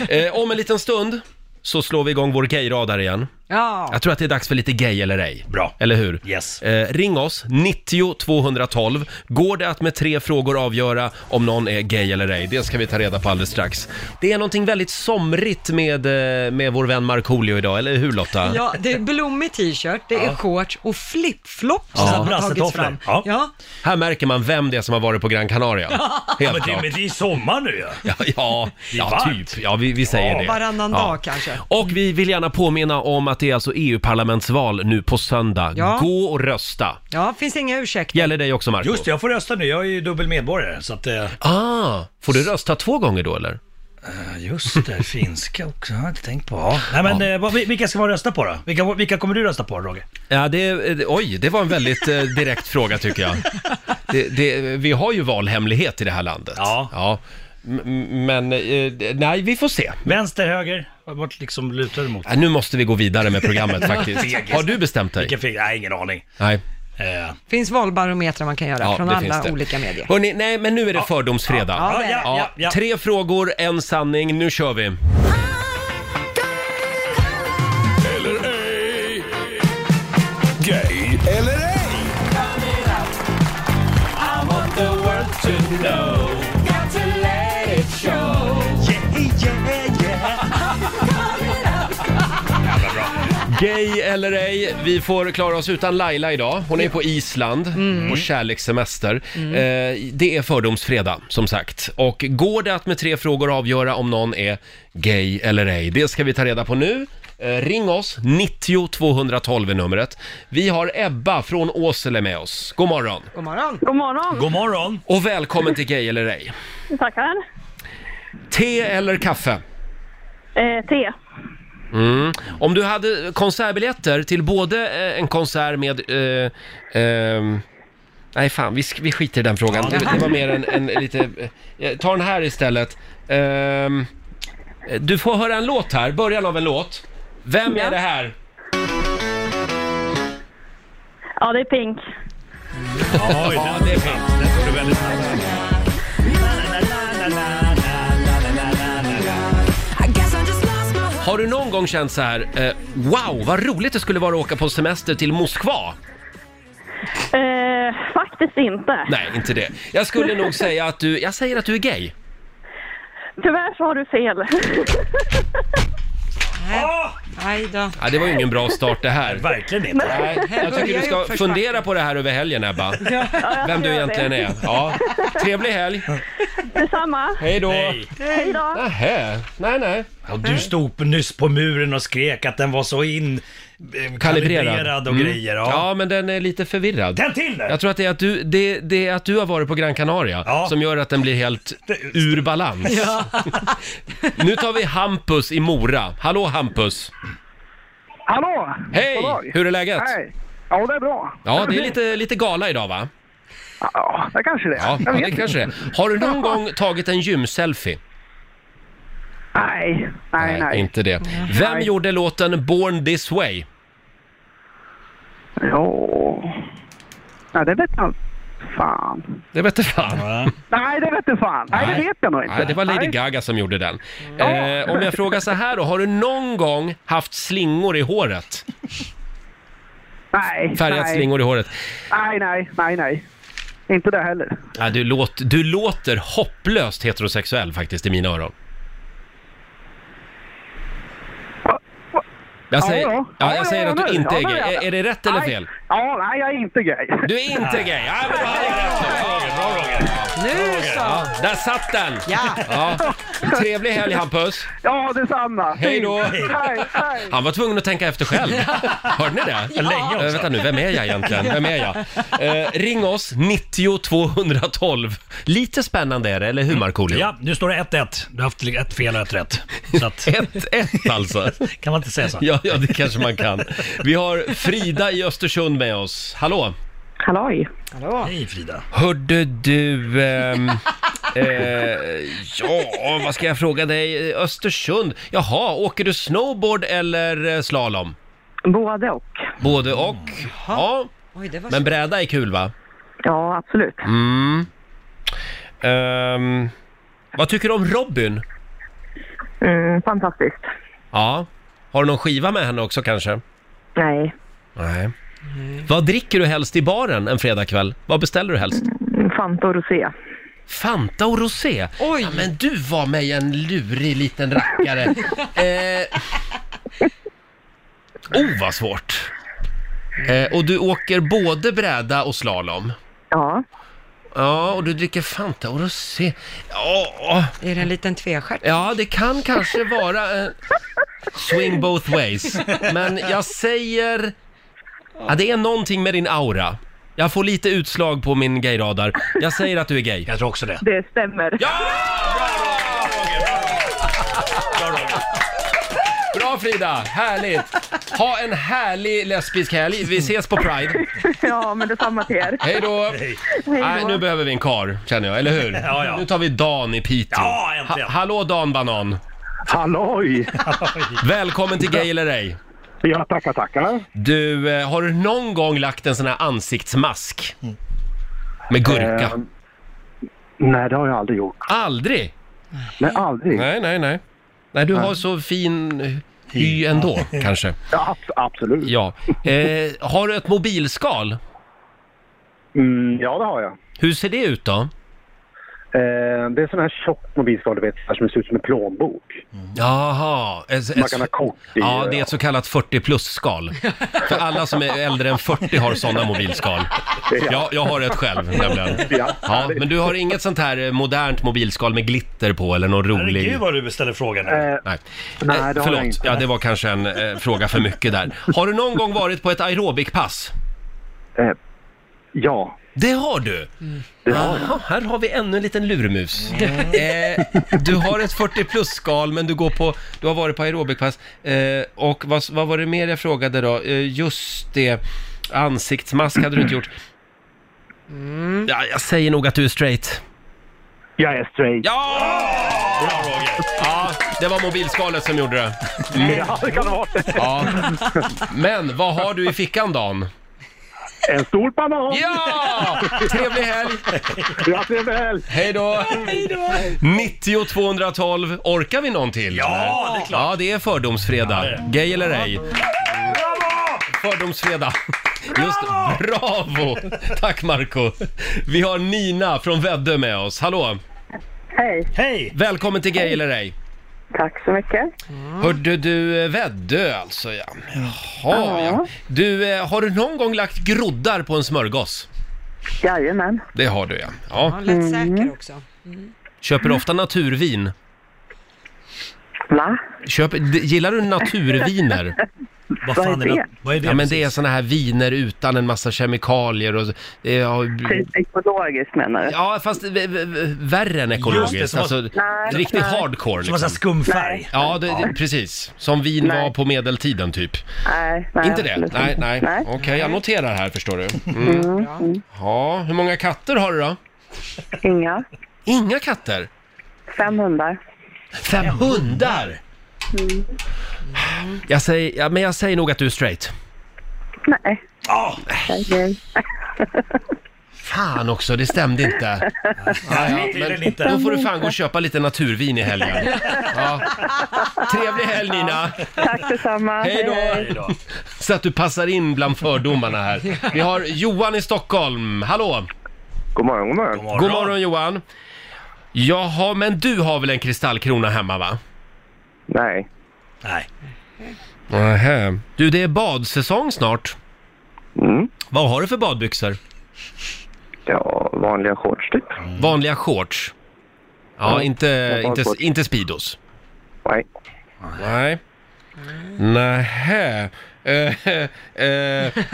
Ja. Eh, om en liten stund så slår vi igång vår gayradar igen. Ja. Jag tror att det är dags för lite gay eller ej. Bra. Eller hur? Yes. Eh, ring oss, 90 212. Går det att med tre frågor avgöra om någon är gay eller ej? Det ska vi ta reda på alldeles strax. Det är någonting väldigt somrigt med, eh, med vår vän Markoolio idag, eller hur Lotta? Ja, det är blommig t-shirt, det är shorts och flipflops Ja. som har tagits Brassetofflor. fram. Ja. Här märker man vem det är som har varit på Gran Canaria. [LAUGHS] Ja, Helt men, det, klart. men det är ju sommar nu ju. Ja, ja, Det är ja varmt. typ. Ja, vi, vi säger Ja, det. varannan Ja. dag kanske. Och vi vill gärna påminna om att det är alltså EU-parlamentsval nu på söndag. Ja. Gå och rösta. Ja, finns inga ursäkter. Gäller dig också Marco? Just det, jag får rösta nu. Jag är ju dubbel medborgare. Så att, eh, Ah, får du rösta två gånger då eller? Ja, Just det, finska också. Jag har jag inte tänkt på. Ja. Nej, men, eh, vad- vilka ska man rösta på då? Vilka, vilka kommer du rösta på, Roger? Ja, det, eh, oj, det var en väldigt eh, direkt fråga tycker [LAUGHS] jag. Det, det, vi har ju valhemlighet i det här landet. Ja. M- m- Men, eh, det- nej, vi får se. Vänster, höger? Vad- Vart liksom lutar du mot? Ja, nu måste vi gå vidare med [LAUGHS] [LAUGHS] programmet faktiskt. Fegis. Har du bestämt dig? Vilken fick? Nej, ingen aning. Nej. Eh, finns valbarometrar man kan göra från det finns alla det. olika medier. Hörrni, nej, men nu är det fördomsfredag. Ja, ja, det är ja, ja, ja. Tre frågor, en sanning. Nu kör vi. Eller ej. Gay eller ej. Gay eller ej, vi får klara oss utan Laila idag. Hon är på Island Mm. på kärlekssemester. Eh, det är fördomsfredag, som sagt. Och går det att med tre frågor avgöra om någon är gay eller ej? Det ska vi ta reda på nu. Eh, ring oss, 90 212 är numret. Vi har Ebba från Åsele med oss. God morgon! God morgon. God morgon. God morgon! Och välkommen till Gay eller ej. Tackar. Te eller kaffe? Eh, te. Mm. Om du hade konsertbiljetter till både eh, en konsert med... Eh, ehm, nej fan, vi, sk- vi skiter i den frågan. Det, det var mer en, en lite... eh, ta den här istället. Ehm, eh, du får höra en låt här, början av en låt. Vem är det här? Ja, det är pink. Oj, ja, det är fint. Det får du väldigt Har du någon gång känt så här, eh, wow, vad roligt det skulle vara att åka på semester till Moskva? Eh, faktiskt inte. Nej, inte det. Jag skulle nog säga att du, jag säger att du är gay. Tyvärr så har du fel. [LAUGHS] Ah! Nej då. Ja, det var ju ingen bra start det här. [LAUGHS] Verkligen inte. Nej, jag tycker du ska fundera på det här över helgen Ebba. Vem du egentligen är. Ja. [LAUGHS] Trevlig helg. Detsamma. Hej då. Nej. Hej då. Nähä. Nej, nej. Ja, du stod nyss på muren och skrek att den var så in... eh, Kalibrerad. kalibrerad och Mm. grejer. Ja. Ja, men den är lite förvirrad. Den till nu! Jag tror att det är att du, det, det är att du har varit på Gran Canaria Ja. som gör att den blir helt ur balans. Nu tar vi Hampus i Mora. Hallå Hampus! Hallå! Hej! Hur är läget? Hej! Ja, det är bra. Ja, det är lite, lite gala idag va? Ja, det kanske det är. Ja, jag ja vet det inte. kanske det är. Har du någon gång tagit en gymselfie? Nej, nej, nej. inte det. Vem gjorde låten Born This Way? Ja. ja, det vet jag fan. Det vete fan. Ja. Nej, det vet du fan. Nej, det vet jag nog inte. Nej, det var Lady Nej. Gaga som gjorde den. Eh, om jag frågar så här då, har du någon gång haft slingor i håret? Nej, Färgat nej. slingor i håret? Nej, nej, nej, nej. Inte det heller. Ja, du, låt, du låter hopplöst heterosexuell faktiskt i mina öron. Va- va- Jag säger, Ja, ja, ja. jag Ja, säger ja, att du nu. inte Ja, är nu gay. är jag Är, det. är det rätt eller nej. fel? Ja, nej, jag är inte gay. Du är inte gay! Ja, men då hade jag rätt. Ja, Bra Roger! Nu så. ja. Där satt den! Ja. Ja. Trevlig helg Hampus! Ja, detsamma. Hej då. Fint. Hej, hej. Han var tvungen att tänka efter själv. Hörde ni det? Länge Eh, också. vänta nu, vem är jag egentligen? Vem är jag? Eh, ring oss, 90 212. Lite spännande är det, eller hur Markoolio? Ja, nu står det 1-1. Du har haft ett [LAUGHS] fel och ett rätt. Så att, 1-1 alltså. kan man inte säga så? Ja, ja, det kanske man kan. Vi har Frida i Östersund med oss. Hallå! Halloj. Hej Frida. Hörde du... ehm, eh, ja, vad ska jag fråga dig? Östersund? Jaha, åker du snowboard eller eh, slalom? Både och. Både och. Ja, Mm, Oj, det var men bräda är kul va? Ja, absolut. Mm. Ehm, vad tycker du om Robin? Mm, fantastiskt. Ja. Har du någon skiva med henne också kanske? Nej. Nej. Vad dricker du helst i baren en fredagkväll? Vad beställer du helst? Mm, Fanta och rosé. [LAUGHS] Fanta och rosé? Oj. Ja, men du var mig en lurig [LAUGHS] liten rackare. eh. Oh, vad svårt. Eh, och du åker både bräda och slalom? Ja. Ja, och du dricker Fanta och rosé. Ja, Är det en liten tvestjärt? Ja, det kan kanske vara eh, swing both ways. Men jag säger... Ja, det är någonting med din aura. Jag får lite utslag på min gayradar. Jag säger att du är gay. Jag tror också det. Det stämmer. Ja! Bra Frida, härligt! Ha en härlig lesbisk helg. Vi ses på [LAUGHS] Pride. Ja, men detsamma till er. Hej då! Nej, nu behöver vi en kar, känner jag, eller hur? Ja, ja. Nu tar vi Dan i Piteå. Ja, äntligen. hallå Dan Banan! Halloj! Välkommen till Gay eller ej! Ja, tackar, tackar. Du, eh, har du någon gång lagt en sån här ansiktsmask? Med gurka? Ah, Eh, nej, det har jag aldrig gjort. Aldrig? Nej, aldrig. Nej, nej, nej. Nej, du har så fin eh, [LAUGHS] hy ändå, kanske. Ja, abs- absolut. Ja. Ja. Eh, har du ett mobilskal? Mm, ja, det har jag. Hur ser det ut då? Eh, det är sån här tjockt mobilskal, du vet, så här som ser ut som en plånbok. Jaha. Ett, Man kan ha kort i. Ja, det är ett så kallat 40 plus-skal. För alla som är äldre än 40 har sådana mobilskal. Jag, jag har ett själv nämligen. Ja. Ja, men du har inget sånt här eh, modernt mobilskal med glitter på eller någon rolig... Herregud vad du beställer frågan nu. Eh, Nej, Nej, Eh, det har jag Förlåt, inte. ja det var kanske en eh, fråga för mycket där. Har du någon gång varit på ett aerobikpass? eh, ja, Det har det du! har jag. Mm. Jaha, här har vi ännu en liten lurmus. Eh, du har ett 40 plus-skal, men du, går på, du har varit på aerobikpass. Eh, och vad, vad var det mer jag frågade då? Eh, just det, ansiktsmask hade du inte gjort. Ja, jag säger nog att du är straight. [LAUGHS] Jag är straight. Ja! Bra Roger! Ja, det var mobilskalet som gjorde det. Ja, det kan det vara. Ja. Men vad har du i fickan Dan? En stor banan! Ja! Trevlig helg! Ja, det är väl. Hej då! 90 212, orkar vi någon till? Ja, det är klart. Ja, det är fördomsfredag. Ja, det är Gay eller ej. Fördomsfredag. Just bravo! Tack Marco. Vi har Nina från Väddö med oss. Hallå! Hej, Hej! Välkommen till Gay eller ej. tack så mycket. Hörde du eh, Väddö alltså ja. Jaha ja. Du, eh, har du någon gång lagt groddar på en smörgås? Jajamän. Det har du ja. ja. Ja, lätt säker också. Köper du ofta naturvin? Va? Köp, d- gillar du naturviner? Vad fan Vad är är det? det? Vad är det? Ja men det är precis? såna här viner utan en massa kemikalier och... eh, Ja, Typ ekologiskt menar du? ja fast v- v- värre än Just det, ekologiskt. som Alltså, Nej, riktig nej. hardcore Som en sån liksom. här skumfärg. Ja, det, det, precis. Som vin Nej. var på medeltiden typ. Nej, nej, Inte det? absolut Nej, inte. nej. Okej, jag noterar här förstår du. Mm. Ja, hur många katter har du då? Inga. Inga katter? Fem hundar. Fem hundar! Mm. Jag säger, ja, men jag säger nog att du är straight. Nej. Ah! Ja, nej. Fan också, det stämde inte. Ja, ja, tydligen men inte. då får du fan gå och köpa lite naturvin i helgen. Ja. Trevlig helg Nina! Tack detsamma. Hej då! Hej då. Så att du passar in bland fördomarna [LAUGHS] här. Vi har Johan i Stockholm, hallå! God morgon, god morgon. God morgon Johan! Jaha, men du har väl en kristallkrona hemma va? Nej. Nej. Nähä. Du, det är badsäsong snart. Mm. Vad har du för badbyxor? Ja, vanliga shorts typ. Vanliga shorts? Ja, Ja, inte, vanliga inte, shorts. inte Speedos. Nej. Nej. Nähä. Eh, [LAUGHS] eh,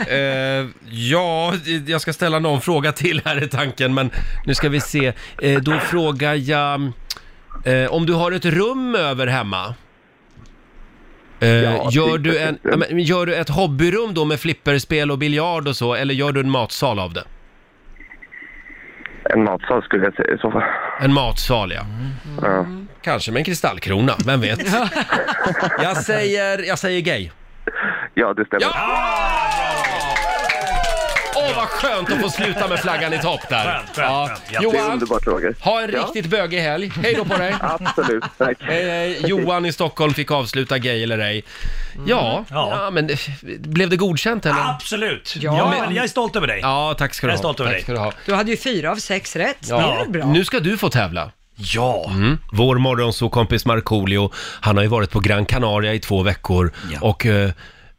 eh, ja, jag ska ställa någon fråga till här i tanken, men nu ska vi se. Eh, då frågar jag eh, om du har ett rum över hemma. Eh, Ja, gör, du en, flipperspel. ja, men, gör du ett hobbyrum då med flipperspel och biljard och så, eller gör du en matsal av det? En matsal skulle jag säga i så fall. En matsal, ja. Ja. Kanske med en kristallkrona, vem vet? jag, säger, jag säger gay. Ja, det stämmer. Ja! Åh, vad skönt att få sluta med flaggan i topp där. Skönt, skönt, skönt. Ja. Det är Johan, underbart, Roger. ha en Ja. riktigt bögig helg. Hej då på dig. Absolut, [LAUGHS] tack. Hej, hej. eh, Johan i Stockholm fick avsluta Gay eller ej. Ja, ja. Ja. men eh, blev det godkänt eller? Absolut! Ja. Ja. men jag är stolt över dig. Ja, tack ska du ha. Jag är stolt över Tack dig. ska du ha. Du hade ju fyra av sex rätt. Ja. Det är bra. Nu ska du få tävla. Ja. Mm. Vår morgonsåkompis Markoolio, han har ju varit på Gran Canaria i två veckor Ja. och eh,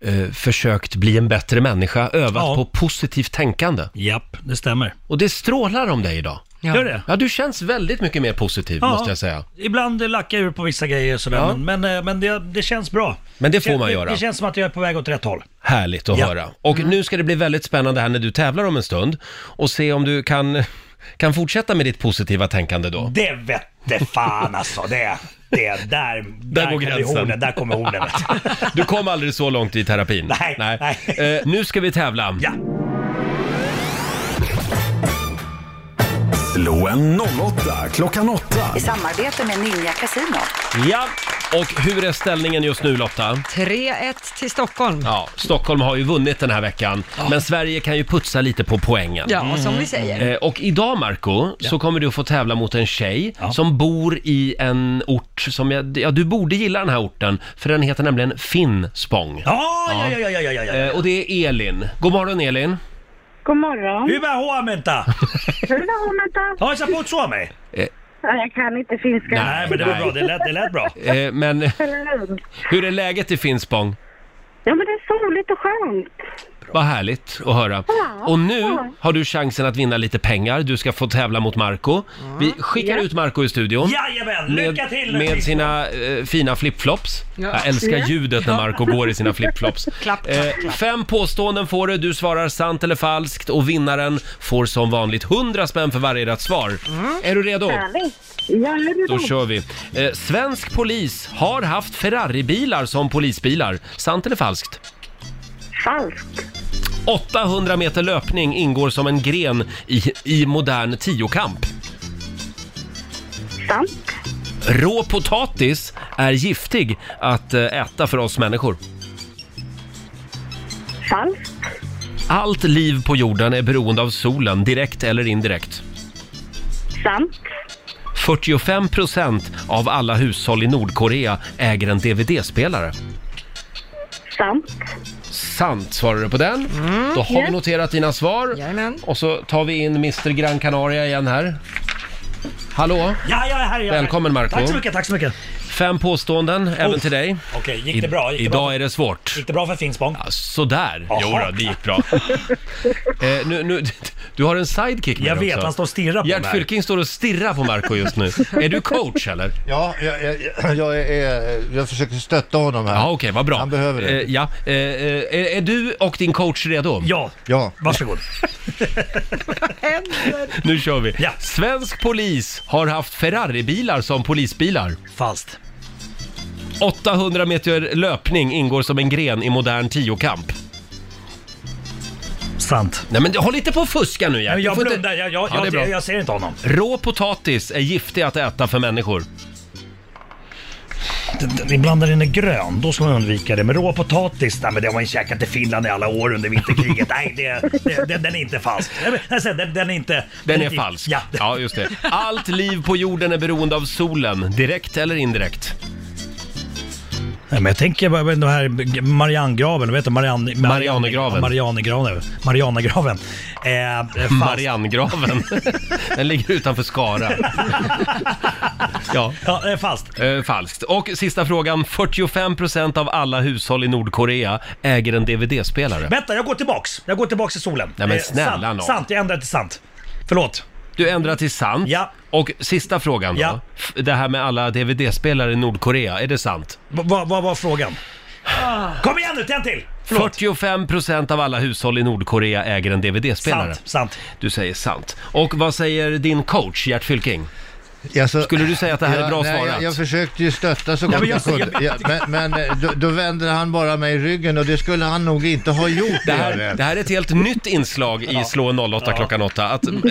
eh, försökt bli en bättre människa, övat Ja. på positivt tänkande. Japp, det stämmer. Och det strålar om dig idag. Ja. Gör det? Ja, du känns väldigt mycket mer positiv måste jag säga. Ibland lackar jag ur på vissa grejer och sådär, Ja. men, men, eh, men det, det känns bra. Men det får man det, göra. Det känns som att jag är på väg åt rätt håll. Härligt att Ja. Mm. höra. Och nu ska det bli väldigt spännande här när du tävlar om en stund och se om [LAUGHS] du kan, kan fortsätta med ditt positiva tänkande då. [LAUGHS] Det vette fan alltså, det. det, där, där, går kommer gränsen. hornen, där kommer [LAUGHS] hornen. vet du. Du kom aldrig så långt i terapin. Nej, nej. Eh, nu ska vi tävla. Ja. Slå en 08 klockan 8. I samarbete med Ninja Casino. ja. Och hur är ställningen just nu Lotta? 3-1 till Stockholm. Ja, Ja, Stockholm har ju vunnit den här veckan, men Sverige kan ju putsa lite på poängen. som vi säger. Eh, Och idag Marco så kommer du att få tävla mot en tjej som bor i en ort som, jag, ja du borde gilla den här orten, för den heter nämligen Finspång. Ja, ja, ja, ja, ja, ja, ja. Eh, Och det är Elin. God morgon Elin! God morgon. Hyvää huomenta! Hyvää huomenta. Har jag putt suomi? Ja, Jag kan inte finska. Nej, men det var bra. Det lät, det lät bra. Eh, Men [LAUGHS] Eller hur? hur är läget i Finspång? Ja, men det är soligt och skönt. Vad härligt att höra. Och nu har du chansen att vinna lite pengar. Du ska få tävla mot Marco. Mm. Vi skickar ut Marco i studion. Jajamän, lycka Med, till! med sina eh, fina flipflops. Ja. Jag älskar ljudet när Marco går i sina flipflops. [LAUGHS] Klapp, klapp, Eh, fem påståenden får du, du svarar sant eller falskt och vinnaren får som vanligt 100 spänn för varje rätt svar. Mm. Mm. Är du redo? Härligt. Ja, är det Då då? kör vi. Eh, svensk polis har haft Ferraribilar som polisbilar. Sant eller falskt? Falskt. 800 meter löpning ingår som en gren i, i modern tiokamp. Sant. Rå potatis är giftig att eh, äta för oss människor. Falskt. Allt liv på jorden är beroende av solen, direkt eller indirekt. Sant. 45 procent av alla hushåll i Nordkorea äger en DVD-spelare. Sant. Sant svarar du på den. Då har vi noterat dina svar. Jajamän. Och så tar vi in Mr Gran Canaria igen här. Hallå! Ja, ja, här, ja. Välkommen, Marco. Tack så mycket, tack så mycket. Oh. Fem påståenden, även till dig. Okej, gick det bra? Gick det bra? Idag är det svårt. Gick det bra för Finspång? Sådär. Jaha. Jo då, det [LAUGHS] gick bra. eh, nu, nu, du har en sidekick med Jag dig vet, också. han står och stirrar på Gerd mig. Fylking står och stirrar på Marco [LAUGHS] just nu. är du coach eller? Ja, jag, jag, jag, är, jag försöker stötta honom här. Ja, okej, vad bra. Han behöver det. Eh, ja. eh, eh, är, är du och din coach redo? Ja, Ja. varsågod. Nu kör vi. Ja. Svensk polis har haft Ferraribilar som polisbilar. Falskt. 800 meter löpning ingår som en gren i modern tiokamp. Sant. Nej men håll inte på och fuska nu Nej, Gerd. men Du jag får inte- blundar, jag, jag, Ja, det är jag, bra. jag, jag ser inte honom. Rå potatis är giftig att äta för människor. D- d- Ibland när den är grön, då ska man undvika det. Men rå potatis, nej men det har man ju käkat i Finland i alla år under vinterkriget. nej, det, det, den, den är inte falsk. Nej, men, alltså, den, den är inte... Den är falsk. Ja, ja, just det. Allt liv på jorden är beroende av solen, direkt eller indirekt. Nej, men jag tänker på den här Mariannegraven, vad heter det? Marianne, Marianergraven. Marianergraven. Marianergraven. Eh, falskt. [LAUGHS] Mariannegraven. Den ligger utanför Skara. Ja. Ja, eh, falskt. Eh, falskt. Och sista frågan. 45% av alla hushåll i Nordkorea äger en DVD-spelare. Vänta, jag går tillbaks. Jag går tillbaks till solen. Nej, men Eh, snälla sant, nån. sant, jag ändrar till sant. Förlåt. Du ändrar till sant. Ja. Och sista frågan då. Ja. F- Det här med alla DVD-spelare i Nordkorea, är det sant? V- Vad vad var frågan? Kom igen nu, tänd till! Förlåt. 45% av alla hushåll i Nordkorea äger en DVD-spelare. Sant, sant. Du säger sant. Och vad säger din coach Gert Fylking? Alltså, Skulle du säga att det här ja, är bra nej, svarat? Jag, jag försökte ju stötta så gott men jag jag- kunde. Ja, men men eh, då, då vänder han bara mig i ryggen och det skulle han nog inte ha gjort. Det gör här, det. det här är ett helt nytt inslag i Slå 08 klockan 8, att eh,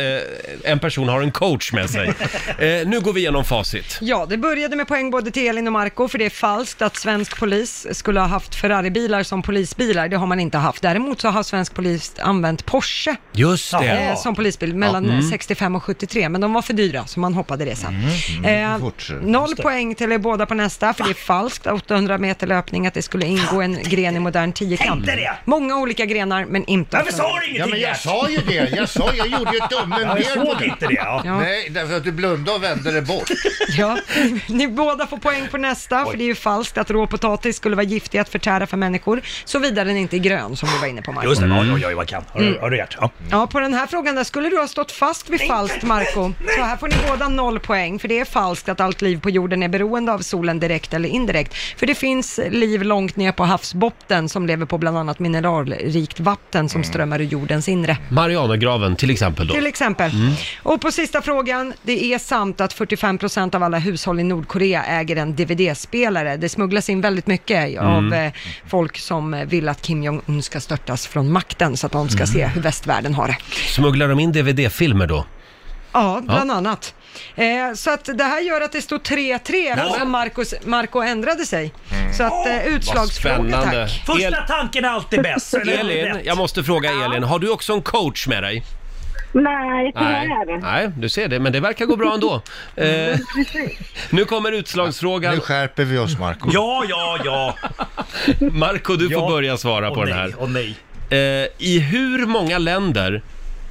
en person har en coach [LAUGHS] med sig. Eh, nu går vi igenom facit. Ja, det började med poäng både till Elin och Marco, för det är falskt att svensk polis skulle ha haft Ferraribilar som polisbilar. Det har man inte haft. Däremot så har svensk polis använt Porsche Just det. Jaha. eh, som polisbil mellan Mm. 65 och 73, men de var för dyra, så man hoppade det sen. mm. Eh, fort. noll poäng till er båda på nästa, för det är falskt. 800 meter löpning, att det skulle ingå en gren i modern tiokamp. Tänkte det! Många olika grenar, men inte... Varför sa du ingenting Ja, men jag Gert? sa ju det. Jag sa, jag gjorde ju tummen Ja, Jag ner på såg det. inte det. Ja. Ja. Nej, därför att du blundade och vände [LAUGHS] det bort. Ja, ni båda får poäng på nästa, för det är ju falskt att råpotatis skulle vara giftig att förtära för människor, såvida den inte är grön, som du var inne på Marco. Just det, Mm. oj, oj, oj vad kan. Har du, har du Gert? Ja. Ja, på den här frågan där skulle du ha stått fast vid falskt, Marco. Så här får ni båda noll poäng, för det är falskt att allt liv på jorden är beroende av solen direkt eller indirekt. För det finns liv långt ner på havsbotten som lever på bland annat mineralrikt vatten Mm. som strömmar ur jordens inre. Marianergraven till exempel då. Till exempel. Mm. Och på sista frågan, det är sant att 45% av alla hushåll i Nordkorea äger en DVD-spelare. Det smugglas in väldigt mycket av Mm. eh, folk som eh, vill att Kim Jong-Un ska störtas från makten så att de ska Mm. se hur västvärlden har det. Smugglar de in DVD-filmer då? Ja, Ja. bland annat. Eh, så att det här gör att det står 3-3 eftersom Marcos, Marco ändrade sig. Så att eh, utslagsfråga Mm. spännande. tack. Första El- tanken är alltid bäst. Elin, jag måste fråga Elin, har du också en coach med dig? Nej, Nej, tyvärr. Nej du ser det, men det verkar gå bra ändå. Mm. Eh, Precis. nu kommer utslagsfrågan. Nu skärper vi oss, Marco. Ja, ja, ja. Marco, du får börja svara på Åh, den nej, här. åh, nej. Eh, I hur många länder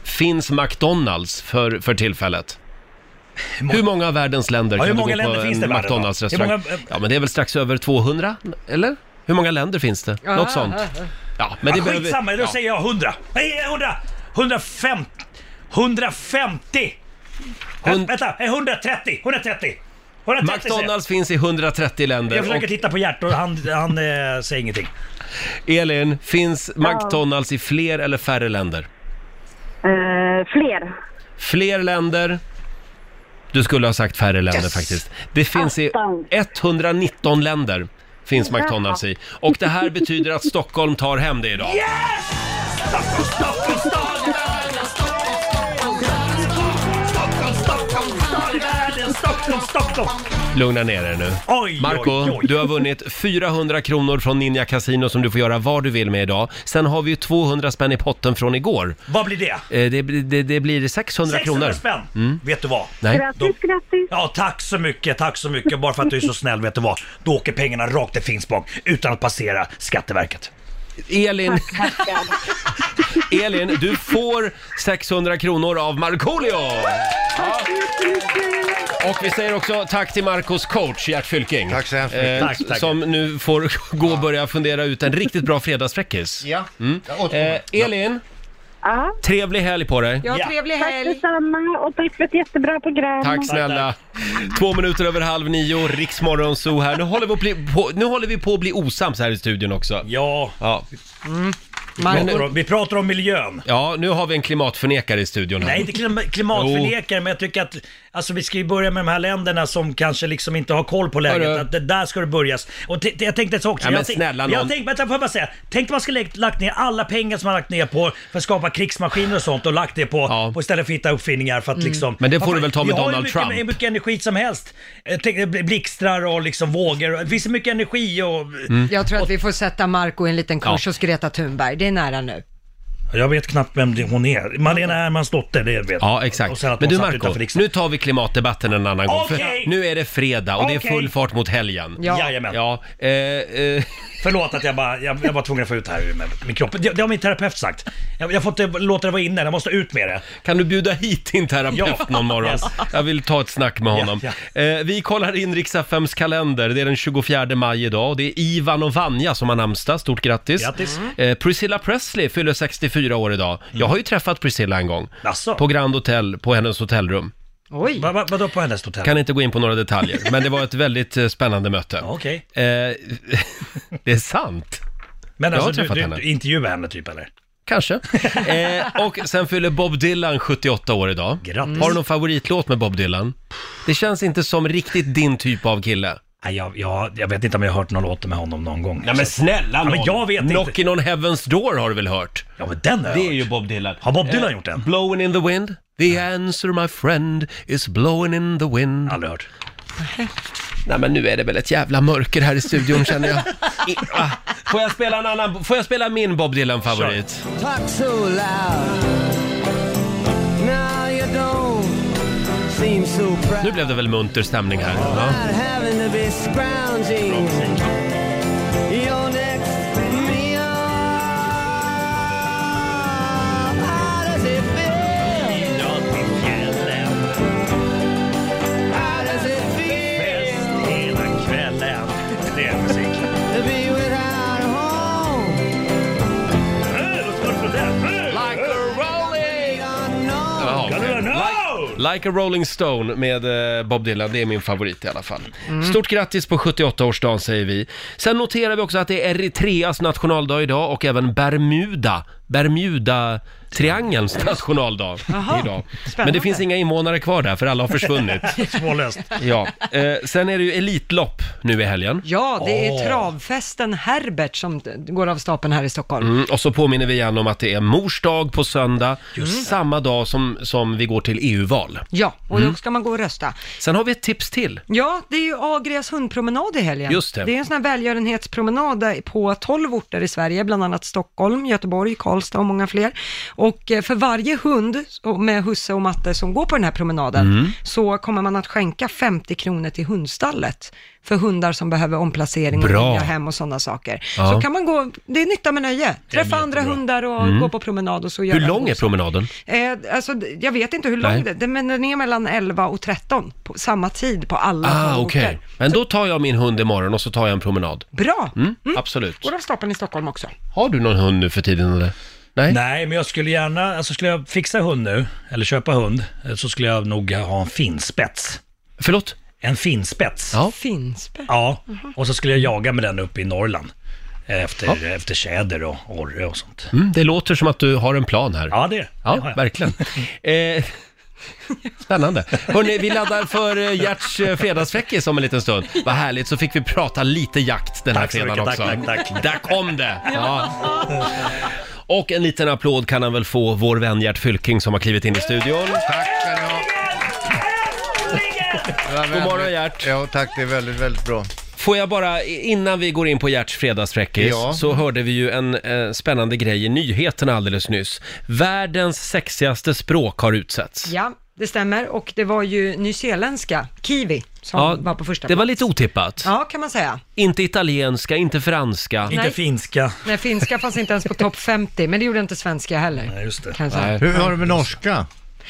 finns McDonalds för, för tillfället? Hur många av världens länder Ja, hur kan du många gå på länder finns det en i världen, va? McDonalds-restaurang? Hur många, eh, Ja, men det är väl strax över 200, eller? Hur många länder finns det? Något sånt. Ja, men det ja, behöver- skitsamma, då ja. säger jag 100. Nej, 100! 150! 150! Hund... Vänta, eh, 130! 130! 130 McDonalds finns i 130 säger jag. Jag länder. försöker Och titta på hjärtat och han, han eh, säger ingenting. Elin, finns Ja. McDonalds i fler eller färre länder? Eh, fler. Fler länder. Du skulle ha sagt färre länder faktiskt. Det finns i 119 länder finns Ja. McDonalds i. Och det här betyder att Stockholm tar hem det idag. Stockholm, Stockholm! Lugna ner er nu. Oj, Marco, oj, oj. du har vunnit 400 kronor från Ninja Casino som du får göra vad du vill med idag. Sen har vi ju 200 spänn i potten från igår. Vad blir det? Eh, Det, det, det blir 600, 600 kronor. spänn. Mm. Vet du vad? Nej. Då- Ja, tack så mycket, tack så mycket. Bara för att du är så snäll, vet du vad? Då åker pengarna rakt till Finspång utan att passera Skatteverket. Elin, [LAUGHS] Elin, du får 600 kronor av Markoolio! Och vi säger också tack till Marcos coach Gert Fylking. Tack så hemskt mycket. Tack, mycket. tack. Som nu får gå och börja fundera ut en riktigt bra fredagsfräckis. Ja. Mm. Eh, Elin, Ja. trevlig helg på dig. trevlig helg. Tack detsamma och tack för ett jättebra program. Tack snälla. Två minuter över halv nio, Riksmorgon Zoo här. Nu håller, vi på att bli, på, nu håller vi på att bli osams här i studion också. Ja. Mm. ja. Vi pratar, om, vi pratar om miljön. Ja, nu har vi en klimatförnekare i studion här. Nej, inte klim- klimatförnekare, men jag tycker att alltså, vi ska ju börja med de här länderna som kanske liksom inte har koll på läget. Hörru. Att det där ska det börjas. Och t- t- jag tänkte så också. Ja, men jag tänk- snälla nån. jag tänkte, vänta, får jag bara säga. Tänk om man skulle lagt, lagt ner alla pengar som man lagt ner på för att skapa krigsmaskiner och sånt och lagt det på, på istället för att hitta uppfinningar för att Mm. liksom... Men det får du väl ta med vi har ju Donald mycket, Trump. hur mycket energi som helst. Eh, Tänk, eh, blixtrar och liksom vågor. och- Det finns så mycket energi och... Mm. Jag tror att vi får sätta Marco i en liten kurs hos Greta Thunberg, det är nära nu. Jag vet knappt vem det, hon är. Malena Ernmans dotter, det vet jag. Ja, exakt. sen att Men hon du satt Marco, utanför nu tar vi klimatdebatten en annan gång. Okej. För nu är det fredag och det är Okej. full fart mot helgen. Ja. Jajamän. Ja, eh, eh. Förlåt att jag bara, jag, jag var tvungen att få ut det här ur min- min kropp. Det, det har min terapeut sagt. Jag, jag får inte låta det vara inne, jag måste ut med det. Kan du bjuda hit din terapeut Ja. någon morgon? Yes. Jag vill ta ett snack med honom. Ja, Eh, vi kollar in Riks-FMs kalender. Det är den 24 maj idag och det är Ivan och Vanja som har namnsdag. Stort grattis! Grattis. Mm. Eh, Priscilla Presley fyller 64 år idag. Jag har ju träffat Priscilla en gång. Asså? På Grand Hotel, på hennes hotellrum. Oj! Va, va, vadå på hennes hotell? Kan inte gå in på [LAUGHS] några detaljer, men det var ett väldigt eh, spännande möte. Okej. Eh, [LAUGHS] det är sant. Men jag har alltså, träffat du, du, henne. du intervjuar henne typ eller? [LAUGHS] Kanske. Eh, och sen fyller Bob Dylan 78 år idag. Grattis. Har du någon favoritlåt med Bob Dylan? Det känns inte som riktigt din typ av kille. Nej, jag, jag, jag vet inte om jag har hört någon låt med honom någon gång. Alltså. Nej men snälla ja, nån. men jag vet inte. Knockin' on Heaven's Door har du väl hört? Ja men den har jag Det är ju Bob Dylan. Eh, Har Bob Dylan gjort den? Blowing in the wind. The answer my friend is blowing in the wind. Aldrig hört. Nej men nu är det väl ett jävla mörker här i studion känner jag. I, ah. [LAUGHS] Får jag spela en annan, får jag spela min Bob Dylan-favorit? Talk so loud. Now you don't seem so proud. Nu blev det väl munter stämning här. Ja. Not having to be scrounging. Your next meal. How does it feel? How does it feel Hela kvällen. Det är [LAUGHS] musik. to be without a home? Like a rolling Jaha. unknown. Gonna Like, Like a Rolling Stone med eh, Bob Dylan, det är min favorit i alla fall. Mm. Stort grattis på 78-årsdagen säger vi. Sen noterar vi också att det är Eritreas nationaldag idag och även Bermuda, Bermuda-triangelns nationaldag Jaha, idag. Men spännande. det finns inga invånare kvar där för alla [LAUGHS] har försvunnit. Svårlöst. Ja, eh, sen är det ju Elitlopp nu i helgen. Ja, det är travfesten Herbert som t- går av stapeln här i Stockholm. Mm, och så påminner vi igen om att det är mors dag på söndag, Just det. samma dag som, som vi går till EU-val. Ja, och Mm. då ska man gå och rösta. Sen har vi ett tips till. Ja, det är ju Agrias hundpromenad i helgen. Just det. det är en sån här välgörenhetspromenad där- på 12 orter i Sverige, bland annat Stockholm, Göteborg, Karlstad och många fler. Och eh, för varje hund och- med husse och matte som går på den här promenaden Mm. så kommer man att skänka 50 kronor till hundstallet för hundar som behöver omplacering och Bra. nya hem och sådana saker. Ja. Så kan man gå, det är nytta med nöje, träffa andra hundar och Mm. gå på promenad och så göra Hur lång är gosa- promenaden? Eh, alltså, d- jag vet inte hur lång Nej. det är, men den är mellan 11 och 13 på samma tid på alla Ah, tolv okej. orter. Men då tar jag min hund imorgon och så tar jag en promenad. Bra! Mm, Absolut. Går av stapeln i Stockholm också. Har du någon hund nu för tiden eller? Nej? Nej, men jag skulle gärna, alltså skulle jag fixa hund nu, eller köpa hund, eh, så skulle jag nog ha en finspets. Förlåt? En finspets. Ja. Finspets? Ja, och så skulle jag jaga med den uppe i Norrland. eh, Efter, efter tjäder och orre och sånt. Mm, det låter som att du har en plan här. Ja, det Ja, har jag. [LAUGHS] verkligen. Eh, spännande. Hörrni, vi laddar för eh, Gerts eh, fredagsfräckis om en liten stund. Vad härligt, så fick vi prata lite jakt den här Tack så fredagen mycket, också. tack, tack, tack. Där kom det! Ja. Och en liten applåd kan han väl få, vår vän Gert Fylking som har klivit in i studion. Tack ska ni ha. Det var God morgon, väldigt- Ja, tack. Det är väldigt, väldigt bra. Får jag bara, innan vi går in på Gerts fredagsfräckis, Ja. så hörde vi ju en eh, spännande grej i nyheterna alldeles nyss. Världens sexigaste språk har utsetts. Ja, det stämmer. Och det var ju nyzeeländska, kiwi, som var på första det var plats. lite otippat. Ja, kan man säga. Inte italienska, inte franska. Inte Nej. finska. Nej, finska fanns inte ens på topp 50, men det gjorde inte svenska heller. Nej, just det. Kanske. Hur har du med norska?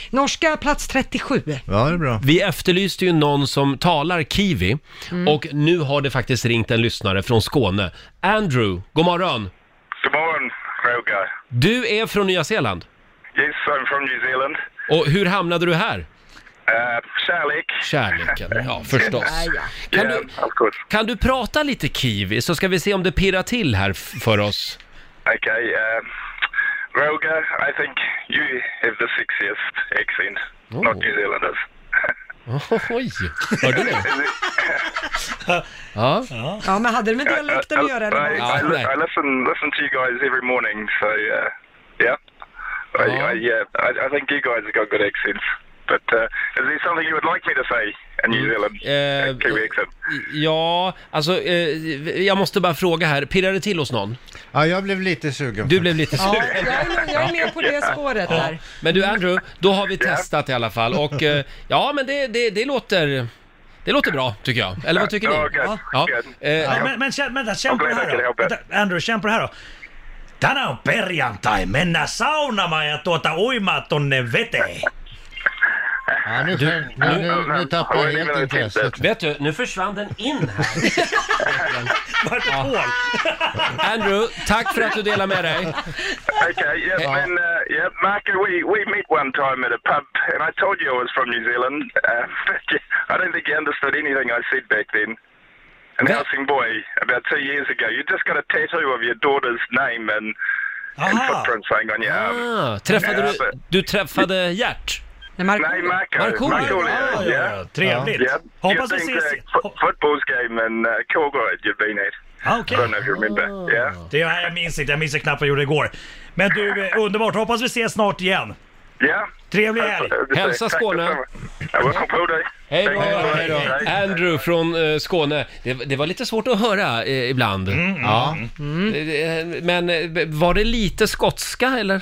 Norska plats 37. Ja, det är bra. Vi efterlyste ju någon som talar kiwi Mm. och nu har det faktiskt ringt en lyssnare från Skåne. Andrew, god morgon. Good morning, Roger. Du är från Nya Zeeland Yes, I'm from New Zealand. och hur hamnade du här? Uh, kärlek. Kärleken, ja förstås. Kan Kan yeah, du, of course. kan du prata lite kiwi så ska vi se om det pirrar till här f- för oss? Okay, uh, Roger, I think you have the sexiest accent, not New Zealanders. Oj, Oh, [LAUGHS] [LAUGHS] hörde du? Ja. Ja, men hade det med dialekten att göra? Uh, I, eller I, vad? li- I listen, listen to you guys every morning, so uh, yeah. I, I, yeah, I, I think you guys have got good accents. But uh, is there something you would like me to say in New Zealand? Eh, Kiwi accent. ja, alltså eh, jag måste bara fråga här, pirrar det till hos någon? Ja, jag blev lite sugen. Du blev lite sugen. Jag är med på det spåret där. Men du Andrew, då har vi testat i alla fall och eh, ja men det, det, det låter det låter bra tycker jag, eller vad tycker ni? Ja, okej. Ja. Eh, Ja, men, men känn, vänta, känn på det här då. Vänta, Andrew, känn på det här då. Tänään on perjantai, mennään saunamaan ja tuota uimaan tonne veteen. Ja, nu, nu, nu, nu tappar jag helt intresset. Vet du, nu försvann den in här. [LAUGHS] uh, Ja. Andrew, tack för att du delar med dig. Okay, yeah, man, uh, yeah, Marco, we, we met one time at a pub, and I told you I was from New Zealand, uh, [LAUGHS] but you, I don't think you understood anything I said back then. And Helsingborg, about two years ago, you just got a tattoo of your daughter's name and, and footprint saying on your arm. Ah, träffade Yeah, du, but- du träffade Gert? Nej, Marco. Markoolio, Ah, yeah. Trevligt. Yeah. Hoppas you vi think ses. the fo- football's game in uh, Kilgore you've been at. Ah, okay. I don't know if you remember. Yeah. Det här jag minns inte, jag minns knappt vad jag gjorde igår. Men du, eh, underbart. Hoppas vi ses snart igen. Yeah. [LAUGHS] Trevlig helg. Hälsa Skåne. I will på dig. Hej då, Tack. hej då. Andrew från eh, Skåne. Det, det var lite svårt att höra eh, ibland. Mm, ja. Eh, Men eh, var det lite skotska eller?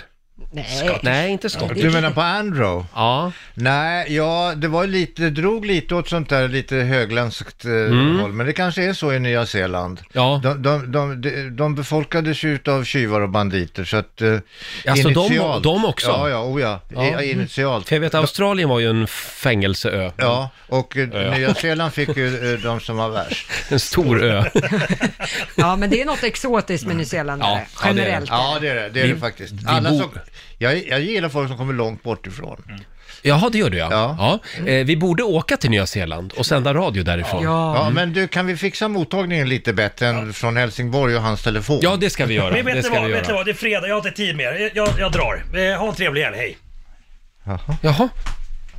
Nej. Nej, inte skotska. Du menar på Andrew? Ja. Nej, ja, det var lite, det drog lite åt sånt där lite högländskt eh, Mm. håll, men det kanske är så i Nya Zeeland. Ja. De, de, de, de, de befolkades ju av tjuvar och banditer, så att eh, Alltså, de- initialt... de också? Ja, ja, oh ja, I- initialt. För jag vet, Australien var ju en fängelseö. Ja, och eh, Ja. Nya Zeeland fick ju eh, de som var värst. En stor ö. Ja, men det är något exotiskt med nyzeeländare, Ja, generellt. Ja, det är det. Det är Vi- det faktiskt. vi Alla bo- som, jag, jag gillar folk som kommer långt bort ifrån. Mm. Jaha, det gör du ja. ja. Eh, vi borde åka till Nya Zeeland och sända radio därifrån. Ja, Mm. men du, kan vi fixa mottagningen lite bättre än från Helsingborg och hans telefon? Ja, det ska [LAUGHS] vi göra. Men vet ni vad, vet ni vad, det är fredag, jag har inte tid mer. Jag, jag drar. Eh, Ha en trevlig helg, hej. Jaha.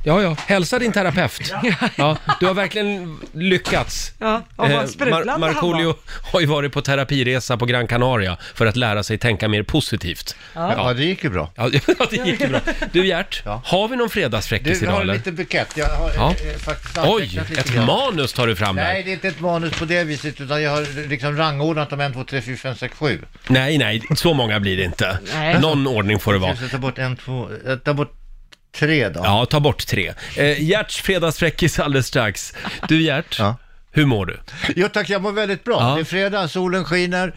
Ja, ja. Hälsa din terapeut. Ja, du har verkligen lyckats. Ja, och vad sprudlande han var. Eh, Markoolio har ju varit på terapiresa på Gran Canaria för att lära sig tänka mer positivt. Ja. Ja, det gick ju bra. Ja, [LAUGHS] det gick ju bra. Du Gert, har vi någon fredagsfräckis Du, jag idag har eller? lite bukett. Jag har Ja. eh, eh, faktiskt Oj, antecknat lite ett grann. manus tar du fram här. Nej, det är inte ett manus på det viset, utan jag har liksom rangordnat dem 1, 2, 3, 4, 5, 6, 7. Nej, nej, så många blir det inte. Nej. Någon ordning får det vara. Jag ska ta bort en, två, jag tar bort tre då. Ja, ta bort tre. Eh, Gerts fredagsfräckis alldeles strax. Du Gert, hur mår du? Jo tack, jag mår väldigt bra. Det är fredag, solen skiner,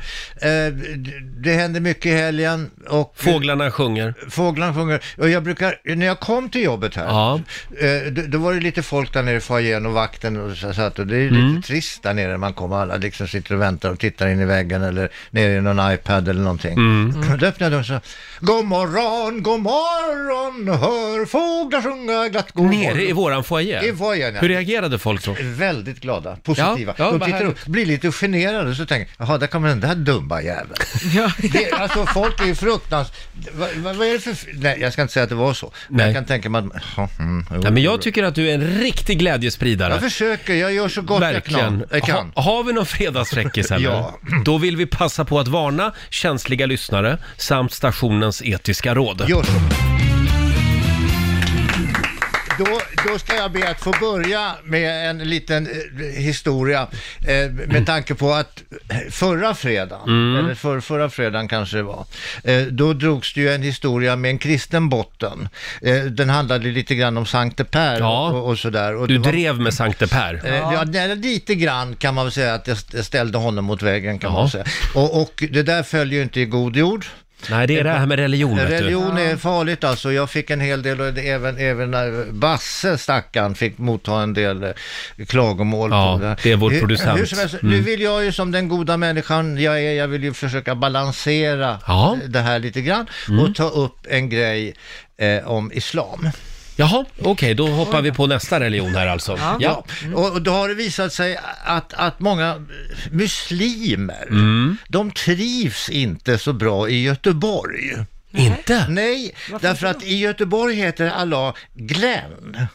eh, d- det händer mycket i helgen och... Fåglarna sjunger. Fåglarna sjunger. Och jag brukar, när jag kom till jobbet här, eh, då, då var det lite folk där nere i foajén och vakten och så satt och det är ju lite Mm. trist där nere när man kommer alla liksom sitter och väntar och tittar in i väggen eller ner i någon iPad eller någonting. [CLEARS THROAT] Mm. Då öppnade jag dörren och sa, God morgon, god morgon, hör fåglar sjunga glatt god morgon. Nere i våran foyer? I foajén, ja. Hur reagerade folk då? Väldigt glada, positiva. Ja, ja, de vad tittar härligt. upp, blir lite generade så tänker jaha, där kommer den där dumma jäveln. [LAUGHS] Det, alltså folk är ju fruktansvärt... Vad, vad, vad är det för... f- Nej, jag ska inte säga att det var så. Men Nej. jag kan tänka mig att... Ja, mm, jo, Nej, men jo. jag tycker att du är en riktig glädjespridare. Jag försöker, jag gör så gott Verkligen. jag kan. Jag kan. Ha, har vi någon fredagsfräckis eller? [LAUGHS] Ja. Då vill vi passa på att varna känsliga lyssnare samt stationens etiska råd. Gör så. Då, då ska jag be att få börja med en liten eh, historia eh, Mm. med tanke på att förra fredagen, Mm. eller för, förra fredagen kanske det var, eh, då drogs det ju en historia med en kristen botten. Eh, den handlade lite grann om Sankte Per och, och sådär. Och Du det var- drev med Sankte Per. Eh, Ja, nej, lite grann kan man väl säga att jag st- jag ställde honom mot väggen kan man säga. Och, och det där följer ju inte i god jord. Nej, det är det här med religion, vet du. Religion Ja. är farligt alltså. Jag fick en hel del och det- även, även eh, Basse, stackaren, fick motta en del eh, klagomål. Ja, på det, här. det är vår Hur- producent. Hur som helst, Mm. Nu vill jag ju som den goda människan jag är, jag vill ju försöka balansera eh, det här lite grann Mm. och ta upp en grej eh, om islam. Jaha, okej, då hoppar vi på nästa religion här alltså. Ja. Mm. Ja. Och och då har det visat sig att, att många muslimer, Mm. de trivs inte så bra i Göteborg. Inte? Nej, därför att i Göteborg heter Allah Glenn.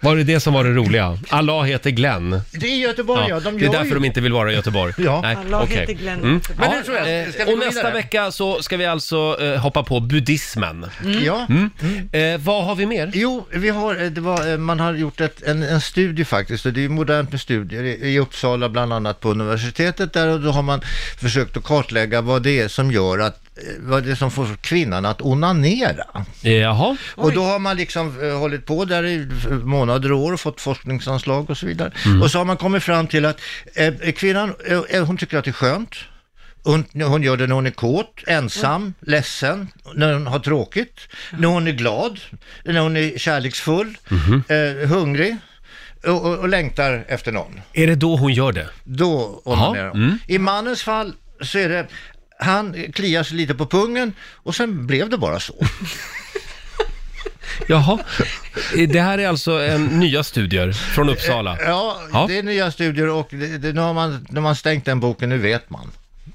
Var det det som var det roliga? Allah heter Glenn. Det är Göteborg, ja. de det är gör därför ju... de inte vill vara i Göteborg. Ja. Nej, Allah okej. heter Glenn. Mm. Men Ja, hur som helst, eh, ska vi och gå nästa vidare? vecka så ska vi alltså eh, hoppa på buddhismen. Mm. Ja. Mm. Eh, vad har vi mer? Jo, vi har, eh, det var, eh, man har gjort ett, en, en studie faktiskt, och det är ju modernt med studier i, i Uppsala bland annat på universitetet där och då har man försökt att kartlägga vad det är som gör att, eh, vad det är som får kvinnan att onanera. Jaha. Och då har man liksom eh, hållit på där i eh, månader och år och fått forskningsanslag och så vidare. Mm. Och så har man kommit fram till att eh, kvinnan, eh, eh, hon tycker att det är skönt. Hon, hon gör det när hon är kåt, ensam, ledsen, när hon har tråkigt, när hon är glad, när hon är kärleksfull, eh, hungrig och, och, och längtar efter någon. Är det då hon gör det? Mm. Då onanerar hon. I mannens fall så är det, han kliar sig lite på pungen och sen blev det bara så. Jaha. Eh, Det här är alltså en, nya studier från Uppsala. Eh, Ja, Ja. det är nya studier och det, det, nu har man, när man stängt den boken, nu vet man.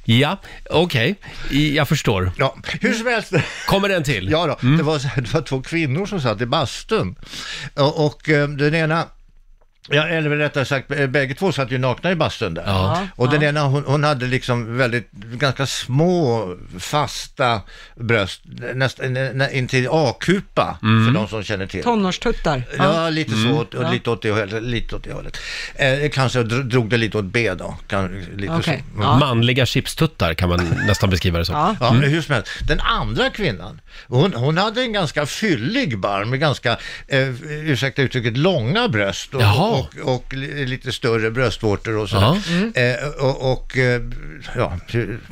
Ja, okej. I- Jag förstår. Ja, hur som helst. Kommer den till? Mm. Ja då, det, var, så här, det var två kvinnor som satt i bastun och, och eh, den ena Ja, eller rättare sagt, eh, bägge två satt ju nakna i bastun där. Ja. Och den Ja. ena, hon, hon hade liksom väldigt, ganska små, fasta bröst, nästan nä, nä, intill A-kupa, Mm. för de som känner till. Tonårstuttar. Ja, lite så, åt, och Ja. lite åt det hållet. Lite åt det hållet. Eh, kanske dro- drog det lite åt B då. Kan, lite Okej, så. ja. Manliga chipstuttar kan man nästan beskriva det som. Ja, Mm. men hur som helst. Den andra kvinnan, hon, hon hade en ganska fyllig barm med ganska, eh, ursäkta uttrycket, långa bröst och, Jaha. och, och, och li- lite större bröstvårtor och sådär. Ja. Mm. Eh, och, och eh, ja,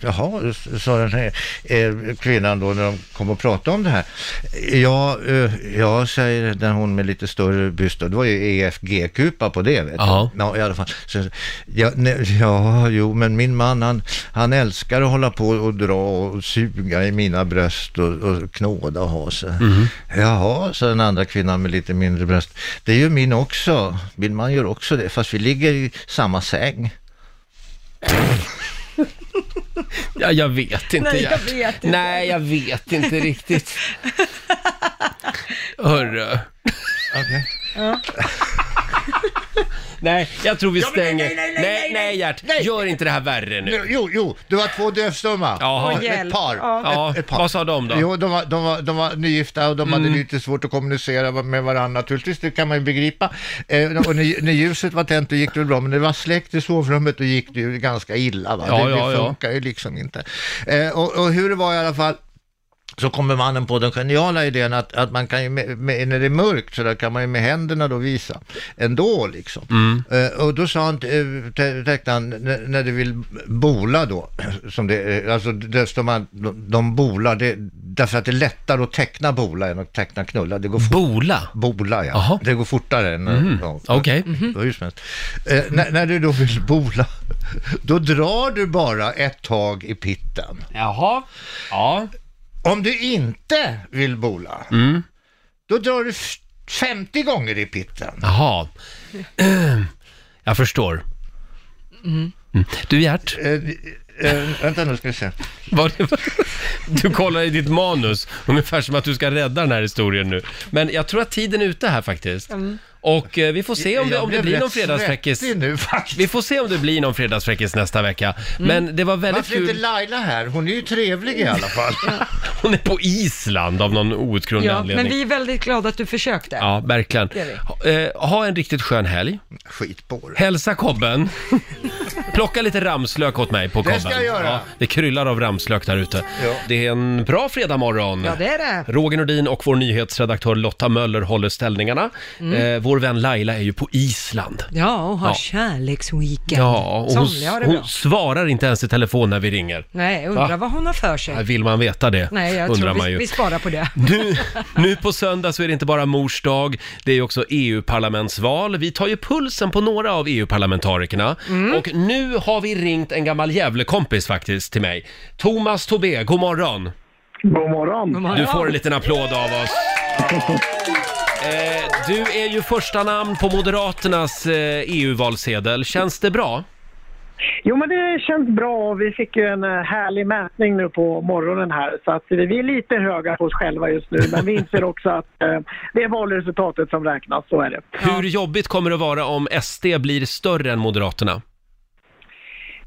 jaha, sa den här eh, kvinnan då när de kom och pratade om det här. Ja, eh, ja, säger den hon med lite större byst, och det var ju EFG-kupa på det vet Ja. du. Ja, i alla fall. Så, ja, nej, ja, jo, men min man han, han älskar att hålla på och dra och suga i mina bröst och, och knåda och ha sig. Mhm. Jaha, sa den andra kvinnan med lite mindre bröst. Det är ju min också. Min man gör också det, fast vi ligger i samma säng. Ja, jag vet inte. Nej, jag Gert. vet inte. Nej, jag vet inte riktigt. Hörru. Ja. [LAUGHS] Nej, jag tror vi Ja, men nej, stänger. nej, nej, nej, nej, nej, Gert. Gör inte det här värre nu. Jo, jo, du har två dövstumma. Jaha. Ett- Ett par. Ja. Ett, ett par. Vad sa de då? Mm. Jo, de var, de var, de var nygifta och de hade lite svårt att kommunicera med varandra naturligtvis, det kan man ju begripa. Eh, och när, när ljuset var tänt då gick det väl bra, men när det var släckt i sovrummet då gick det ju ganska illa. Va? Ja, det, ja, det ja. funkar ju liksom inte. Eh, och, och hur det var i alla fall, så kommer mannen på den geniala idén att, att man kan ju med, med, när det är mörkt så där kan man ju med händerna då visa ändå liksom. Eh, och då sa han, eh, te- tecknaren, när- när du vill bola då, [CLEARS THROAT] som det, eh, alltså desto man, de, de bolar, det, därför att det är lättare att teckna bola än att teckna knulla. Det går fort, bola? Bola, ja. Det går fortare än... Mhm. Ja, Okej. ja, hur som helst. Eh, när, när du då vill bola, då drar du bara ett tag i pitten. Jaha. Ja. Om du inte vill bola, Mm. då drar du f- 50 gånger i pitten. Jaha. [CLEARS THROAT] Jag förstår. Mm. Du Eh, Gert. vänta nu ska vi se. Var det, [LAUGHS] du kollar i ditt manus, ungefär som att du ska rädda den här historien nu. Men jag tror att tiden är ute här faktiskt. Mm. Och eh, vi får se om det, Jag om det blev blir rätt någon fredagsfräckis. svettig nu faktiskt. Vi får se om det blir någon fredagsfräckis nästa vecka. Mm. Men det var väldigt Varför är inte kul. Laila här? Hon är ju trevlig i alla fall. [LAUGHS] Hon är på Island av någon outgrundlig Ja, anledning. men vi är väldigt glada att du försökte. Ja, verkligen. Det är vi. Ha, eh, ha en riktigt skön helg. Skit på [LAUGHS] Hälsa kobben. Plocka lite ramslök åt mig på kobben. Det ska jag göra. det kryllar av ramslök där ute. Det är en bra fredagmorgon. Ja, det är det. Roger Nordin och vår nyhetsredaktör Lotta Möller håller ställningarna. Mm. Eh, vår vän Laila är ju på Island. Ja, och ha Ja. kärleksweekend. Ja, och hon, Somliga har det bra. hon svarar inte ens i telefon när vi ringer. Nej, undrar Va? vad hon har för Ja, sig. Vill man veta det? Nej, jag undrar tror man vi, ju. vi sparar på [LAUGHS] det. Nu, nu på söndag så är det inte bara mors dag, det är också EU-parlamentsval. Vi tar ju pulsen på några av EU-parlamentarikerna. Och nu har vi ringt en gammal Gävlekompis faktiskt till mig. Thomas Tobé, god morgon! God morgon! Du får en liten applåd av oss. Eh, du är ju första namn på Moderaternas eh, EU-valsedel. Känns det bra? Jo, men det känns bra. Vi fick ju en eh, härlig mätning nu på morgonen här. Så att vi är lite höga på oss själva just nu, men vi inser också att eh, det är valresultatet som räknas. Så är det. Hur jobbigt kommer det att vara om SD blir större än Moderaterna?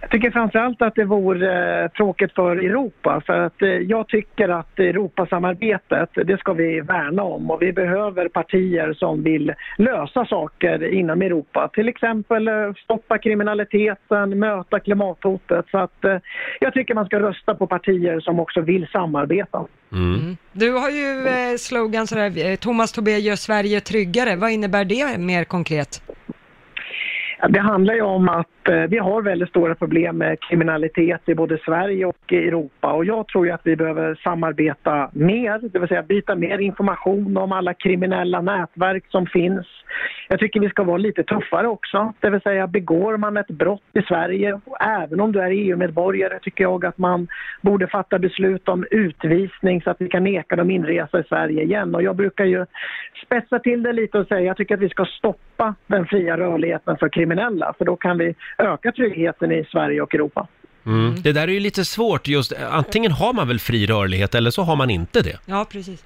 Jag tycker framförallt att det vore eh, tråkigt för Europa för att eh, jag tycker att Europasamarbetet, det ska vi värna om och vi behöver partier som vill lösa saker inom Europa. Till exempel eh, stoppa kriminaliteten, möta klimathotet. Så att eh, jag tycker man ska rösta på partier som också vill samarbeta. Du har ju eh, slogan sådär, eh, Thomas Tobé gör Sverige tryggare. Vad innebär det mer konkret? Ja, Det handlar ju om att eh, vi har väldigt stora problem med kriminalitet i både Sverige och i Europa och jag tror ju att vi behöver samarbeta mer, det vill säga byta mer information om alla kriminella nätverk som finns. Jag tycker vi ska vara lite tuffare också, det vill säga begår man ett brott i Sverige, och även om du är EU-medborgare, tycker jag att man borde fatta beslut om utvisning så att vi kan neka dem inresa i Sverige igen. Och jag brukar ju spetsa till det lite och säga jag tycker att vi ska stoppa den fria rörligheten för kriminella för då kan vi öka tryggheten i Sverige och Europa. Det där är ju lite svårt just, antingen har man väl fri rörlighet eller så har man inte det. Ja, precis.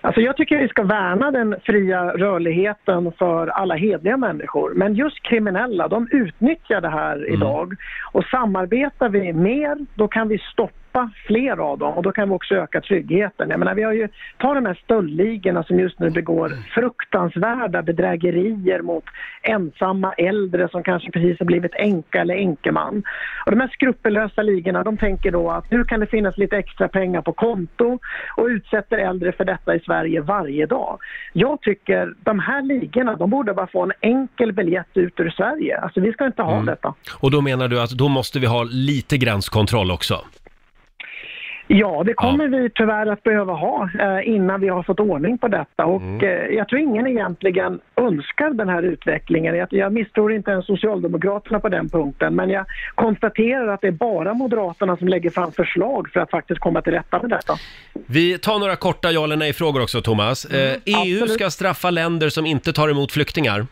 Alltså jag tycker vi ska värna den fria rörligheten för alla hedliga människor. Men just kriminella, de utnyttjar det här idag. Och samarbetar vi mer, då kan vi stoppa stoppa fler av dem och då kan vi också öka tryggheten. Jag menar, vi har ju, ta de här stöldligorna som just nu begår fruktansvärda bedrägerier mot ensamma äldre som kanske precis har blivit änka eller änkeman. Och de här skrupellösa ligorna de tänker då att nu kan det finnas lite extra pengar på konto och utsätter äldre för detta i Sverige varje dag. Jag tycker de här ligorna de borde bara få en enkel biljett ut ur Sverige. Alltså vi ska inte ha detta. Och då menar du att då måste vi ha lite gränskontroll också? Ja, det kommer vi tyvärr att behöva ha eh, innan vi har fått ordning på detta. Och eh, jag tror ingen egentligen önskar den här utvecklingen. Jag, jag misstror inte ens Socialdemokraterna på den punkten. Men jag konstaterar att det är bara Moderaterna som lägger fram förslag för att faktiskt komma till rätta med detta. Vi tar några korta ja eller nej-frågor också, Thomas. eh, EU Mm, absolut. ska straffa länder som inte tar emot flyktingar.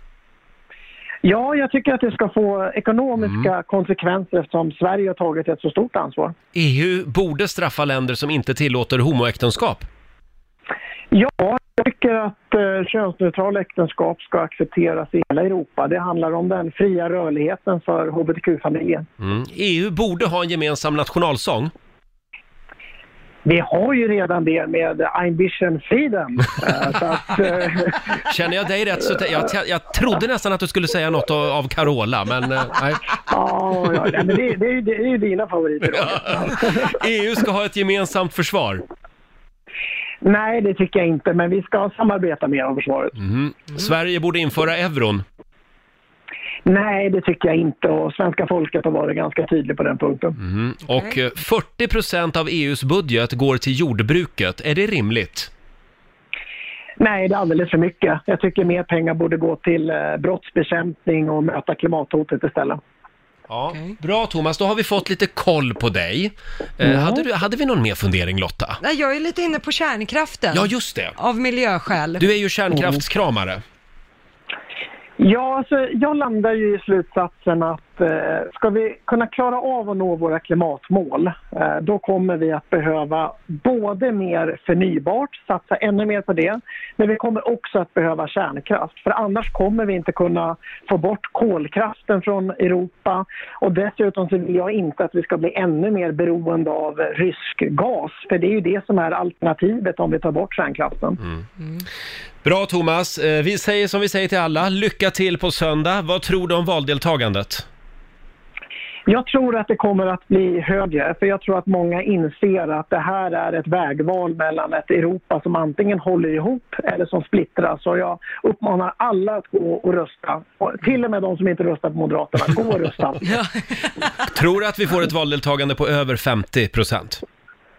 Ja, jag tycker att det ska få ekonomiska konsekvenser eftersom Sverige har tagit ett så stort ansvar. EU E borde straffa länder som inte tillåter homoäktenskap. Ja, jag tycker att eh, könsneutrala äktenskap ska accepteras i hela Europa. Det handlar om den fria rörligheten för hbtq-familjen. Mm. EU borde ha en gemensam nationalsång. Vi har ju redan det med Ambition Freedom. eh, så att, eh, Känner jag dig rätt så... te- Jag, jag trodde nästan att du skulle säga något av, av Carola, men eh, nej. ja, ja, nej, men [LAUGHS] det, det, är ju- det är ju dina favoriter. Roger. EU E ska ha ett gemensamt försvar. Nej, det tycker jag inte, men vi ska samarbeta mer om försvaret. Mm. Sverige borde införa euron. Nej, det tycker jag inte och svenska folket har varit ganska tydlig på den punkten. Mm. Och eh, 40% av EUs budget går till jordbruket. Är det rimligt? Nej, det är alldeles för mycket. Jag tycker mer pengar borde gå till eh, brottsbekämpning och möta klimathotet istället. Ja. Bra Thomas, då har vi fått lite koll på dig. Eh, Ja. hade, du, hade vi någon mer fundering Lotta? Nej, jag är lite inne på kärnkraften. Ja, just det. Av miljöskäl. Du är ju kärnkraftskramare. Ja, alltså, jag landar ju i slutsatsen att eh, ska vi kunna klara av att nå våra klimatmål, eh, då kommer vi att behöva både mer förnybart, satsa ännu mer på det, men vi kommer också att behöva kärnkraft. För annars kommer vi inte kunna få bort kolkraften från Europa och dessutom så vill jag inte att vi ska bli ännu mer beroende av rysk gas, för det är ju det som är alternativet om vi tar bort kärnkraften. Bra Thomas, eh, vi säger som vi säger till alla, lycka till på söndag. Vad tror du [LAUGHS] om valdeltagandet? Jag tror att det kommer att bli högre, för jag tror att många inser att det här är ett vägval mellan ett Europa som antingen håller ihop eller som splittras. Och jag uppmanar alla att gå och rösta. Och till och med de som inte röstar på Moderaterna, gå [LAUGHS] och rösta. Tror du att vi får ett valdeltagande på över 50 procent?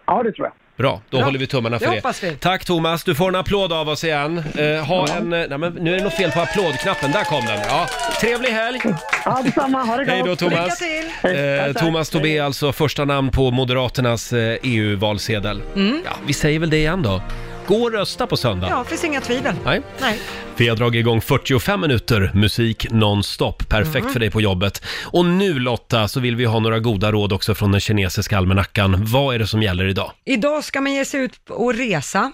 Ja, det tror jag. Bra, då Bra. håller vi tummarna för Det det. hoppas vi. Tack Thomas, du får en applåd av oss igen. Eh, ha en... eh, Nej, men nu är det något fel på applådknappen, där kom den. Ja. Trevlig helg! Ja, detsamma. Ha det gott. Hej då Thomas! Eh, Thomas Tobé är alltså första namn på Moderaternas eh, EU-valsedel. Mm. Ja, vi säger väl det igen då. Gå och rösta på söndag. Ja, finns inga tvivel. Nej. Nej. Vi har dragit igång 45 minuter musik nonstop. Perfekt Mm. för dig på jobbet. Och nu Lotta så vill vi ha några goda råd också från den kinesiska almanackan. Vad är det som gäller idag? Idag ska man ge sig ut och resa.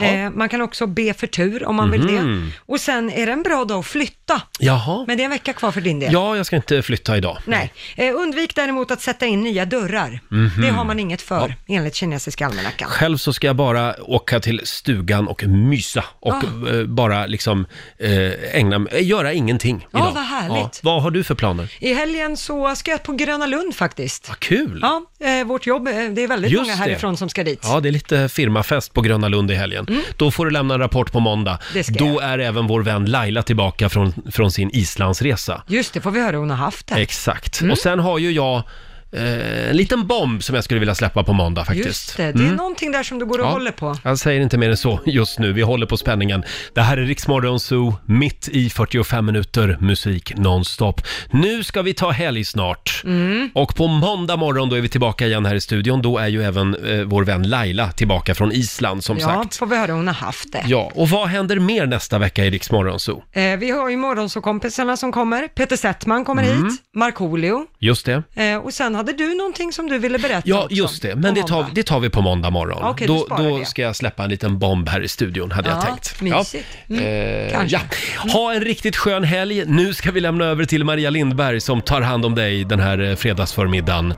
Eh, man kan också be för tur om man vill det. Mhm. Och sen är det en bra dag att flytta. Jaha. Men det är en vecka kvar för din del. Ja, jag ska inte flytta idag. Nej. Eh, undvik däremot att sätta in nya dörrar. Mhm. Det har man inget för, enligt kinesiska almanackan. Själv så ska jag bara åka till stugan och mysa och Ah. eh, bara liksom eh, ägna mig, göra ingenting Ja, idag. Ah, vad härligt. Vad har du för planer? I helgen så ska jag på Gröna Lund faktiskt. Vad kul! Ja, eh, vårt jobb, eh, det är väldigt många härifrån som ska dit. Ja, det är lite firmafest på Gröna Lund i helgen. Då får du lämna en rapport på måndag. Mm. Det ska Då är även vår vän Laila tillbaka från, från sin Islandsresa. Just det, får vi höra hur hon har haft Mm. det. Exakt. Och sen har ju jag eh, en liten bomb som jag skulle vilja släppa på måndag faktiskt. Just det, det är Mm. någonting där som du går och Ja. håller på. Jag säger inte mer än så just nu. Vi håller på spänningen. Det här är Riksmorgon Zoo, mitt i 45 minuter musik nonstop. Nu ska vi ta helg snart. Och på måndag morgon då är vi tillbaka igen här i studion. Då är ju även eh, vår vän Laila tillbaka från Island som ja, sagt. får vi höra hur hon har haft det. Ja, och vad händer mer nästa vecka i Riksmorgon Zoo? Eh, vi har ju Morgonzoo-kompisarna som kommer. Peter Settman kommer Mm. hit, Markoolio. Just det. Eh, och sen hade du någonting som du ville berätta Ja, också. just det. Men det tar, det tar vi på måndag morgon. Okej, du då sparar då det. ska jag släppa en liten bomb här i studion, hade jag Ja, tänkt. mysigt. Mm, Eh, kanske. ja. Ha en riktigt skön helg. Nu ska vi lämna över till Maria Lindberg som tar hand om dig den här eh, fredagsförmiddagen.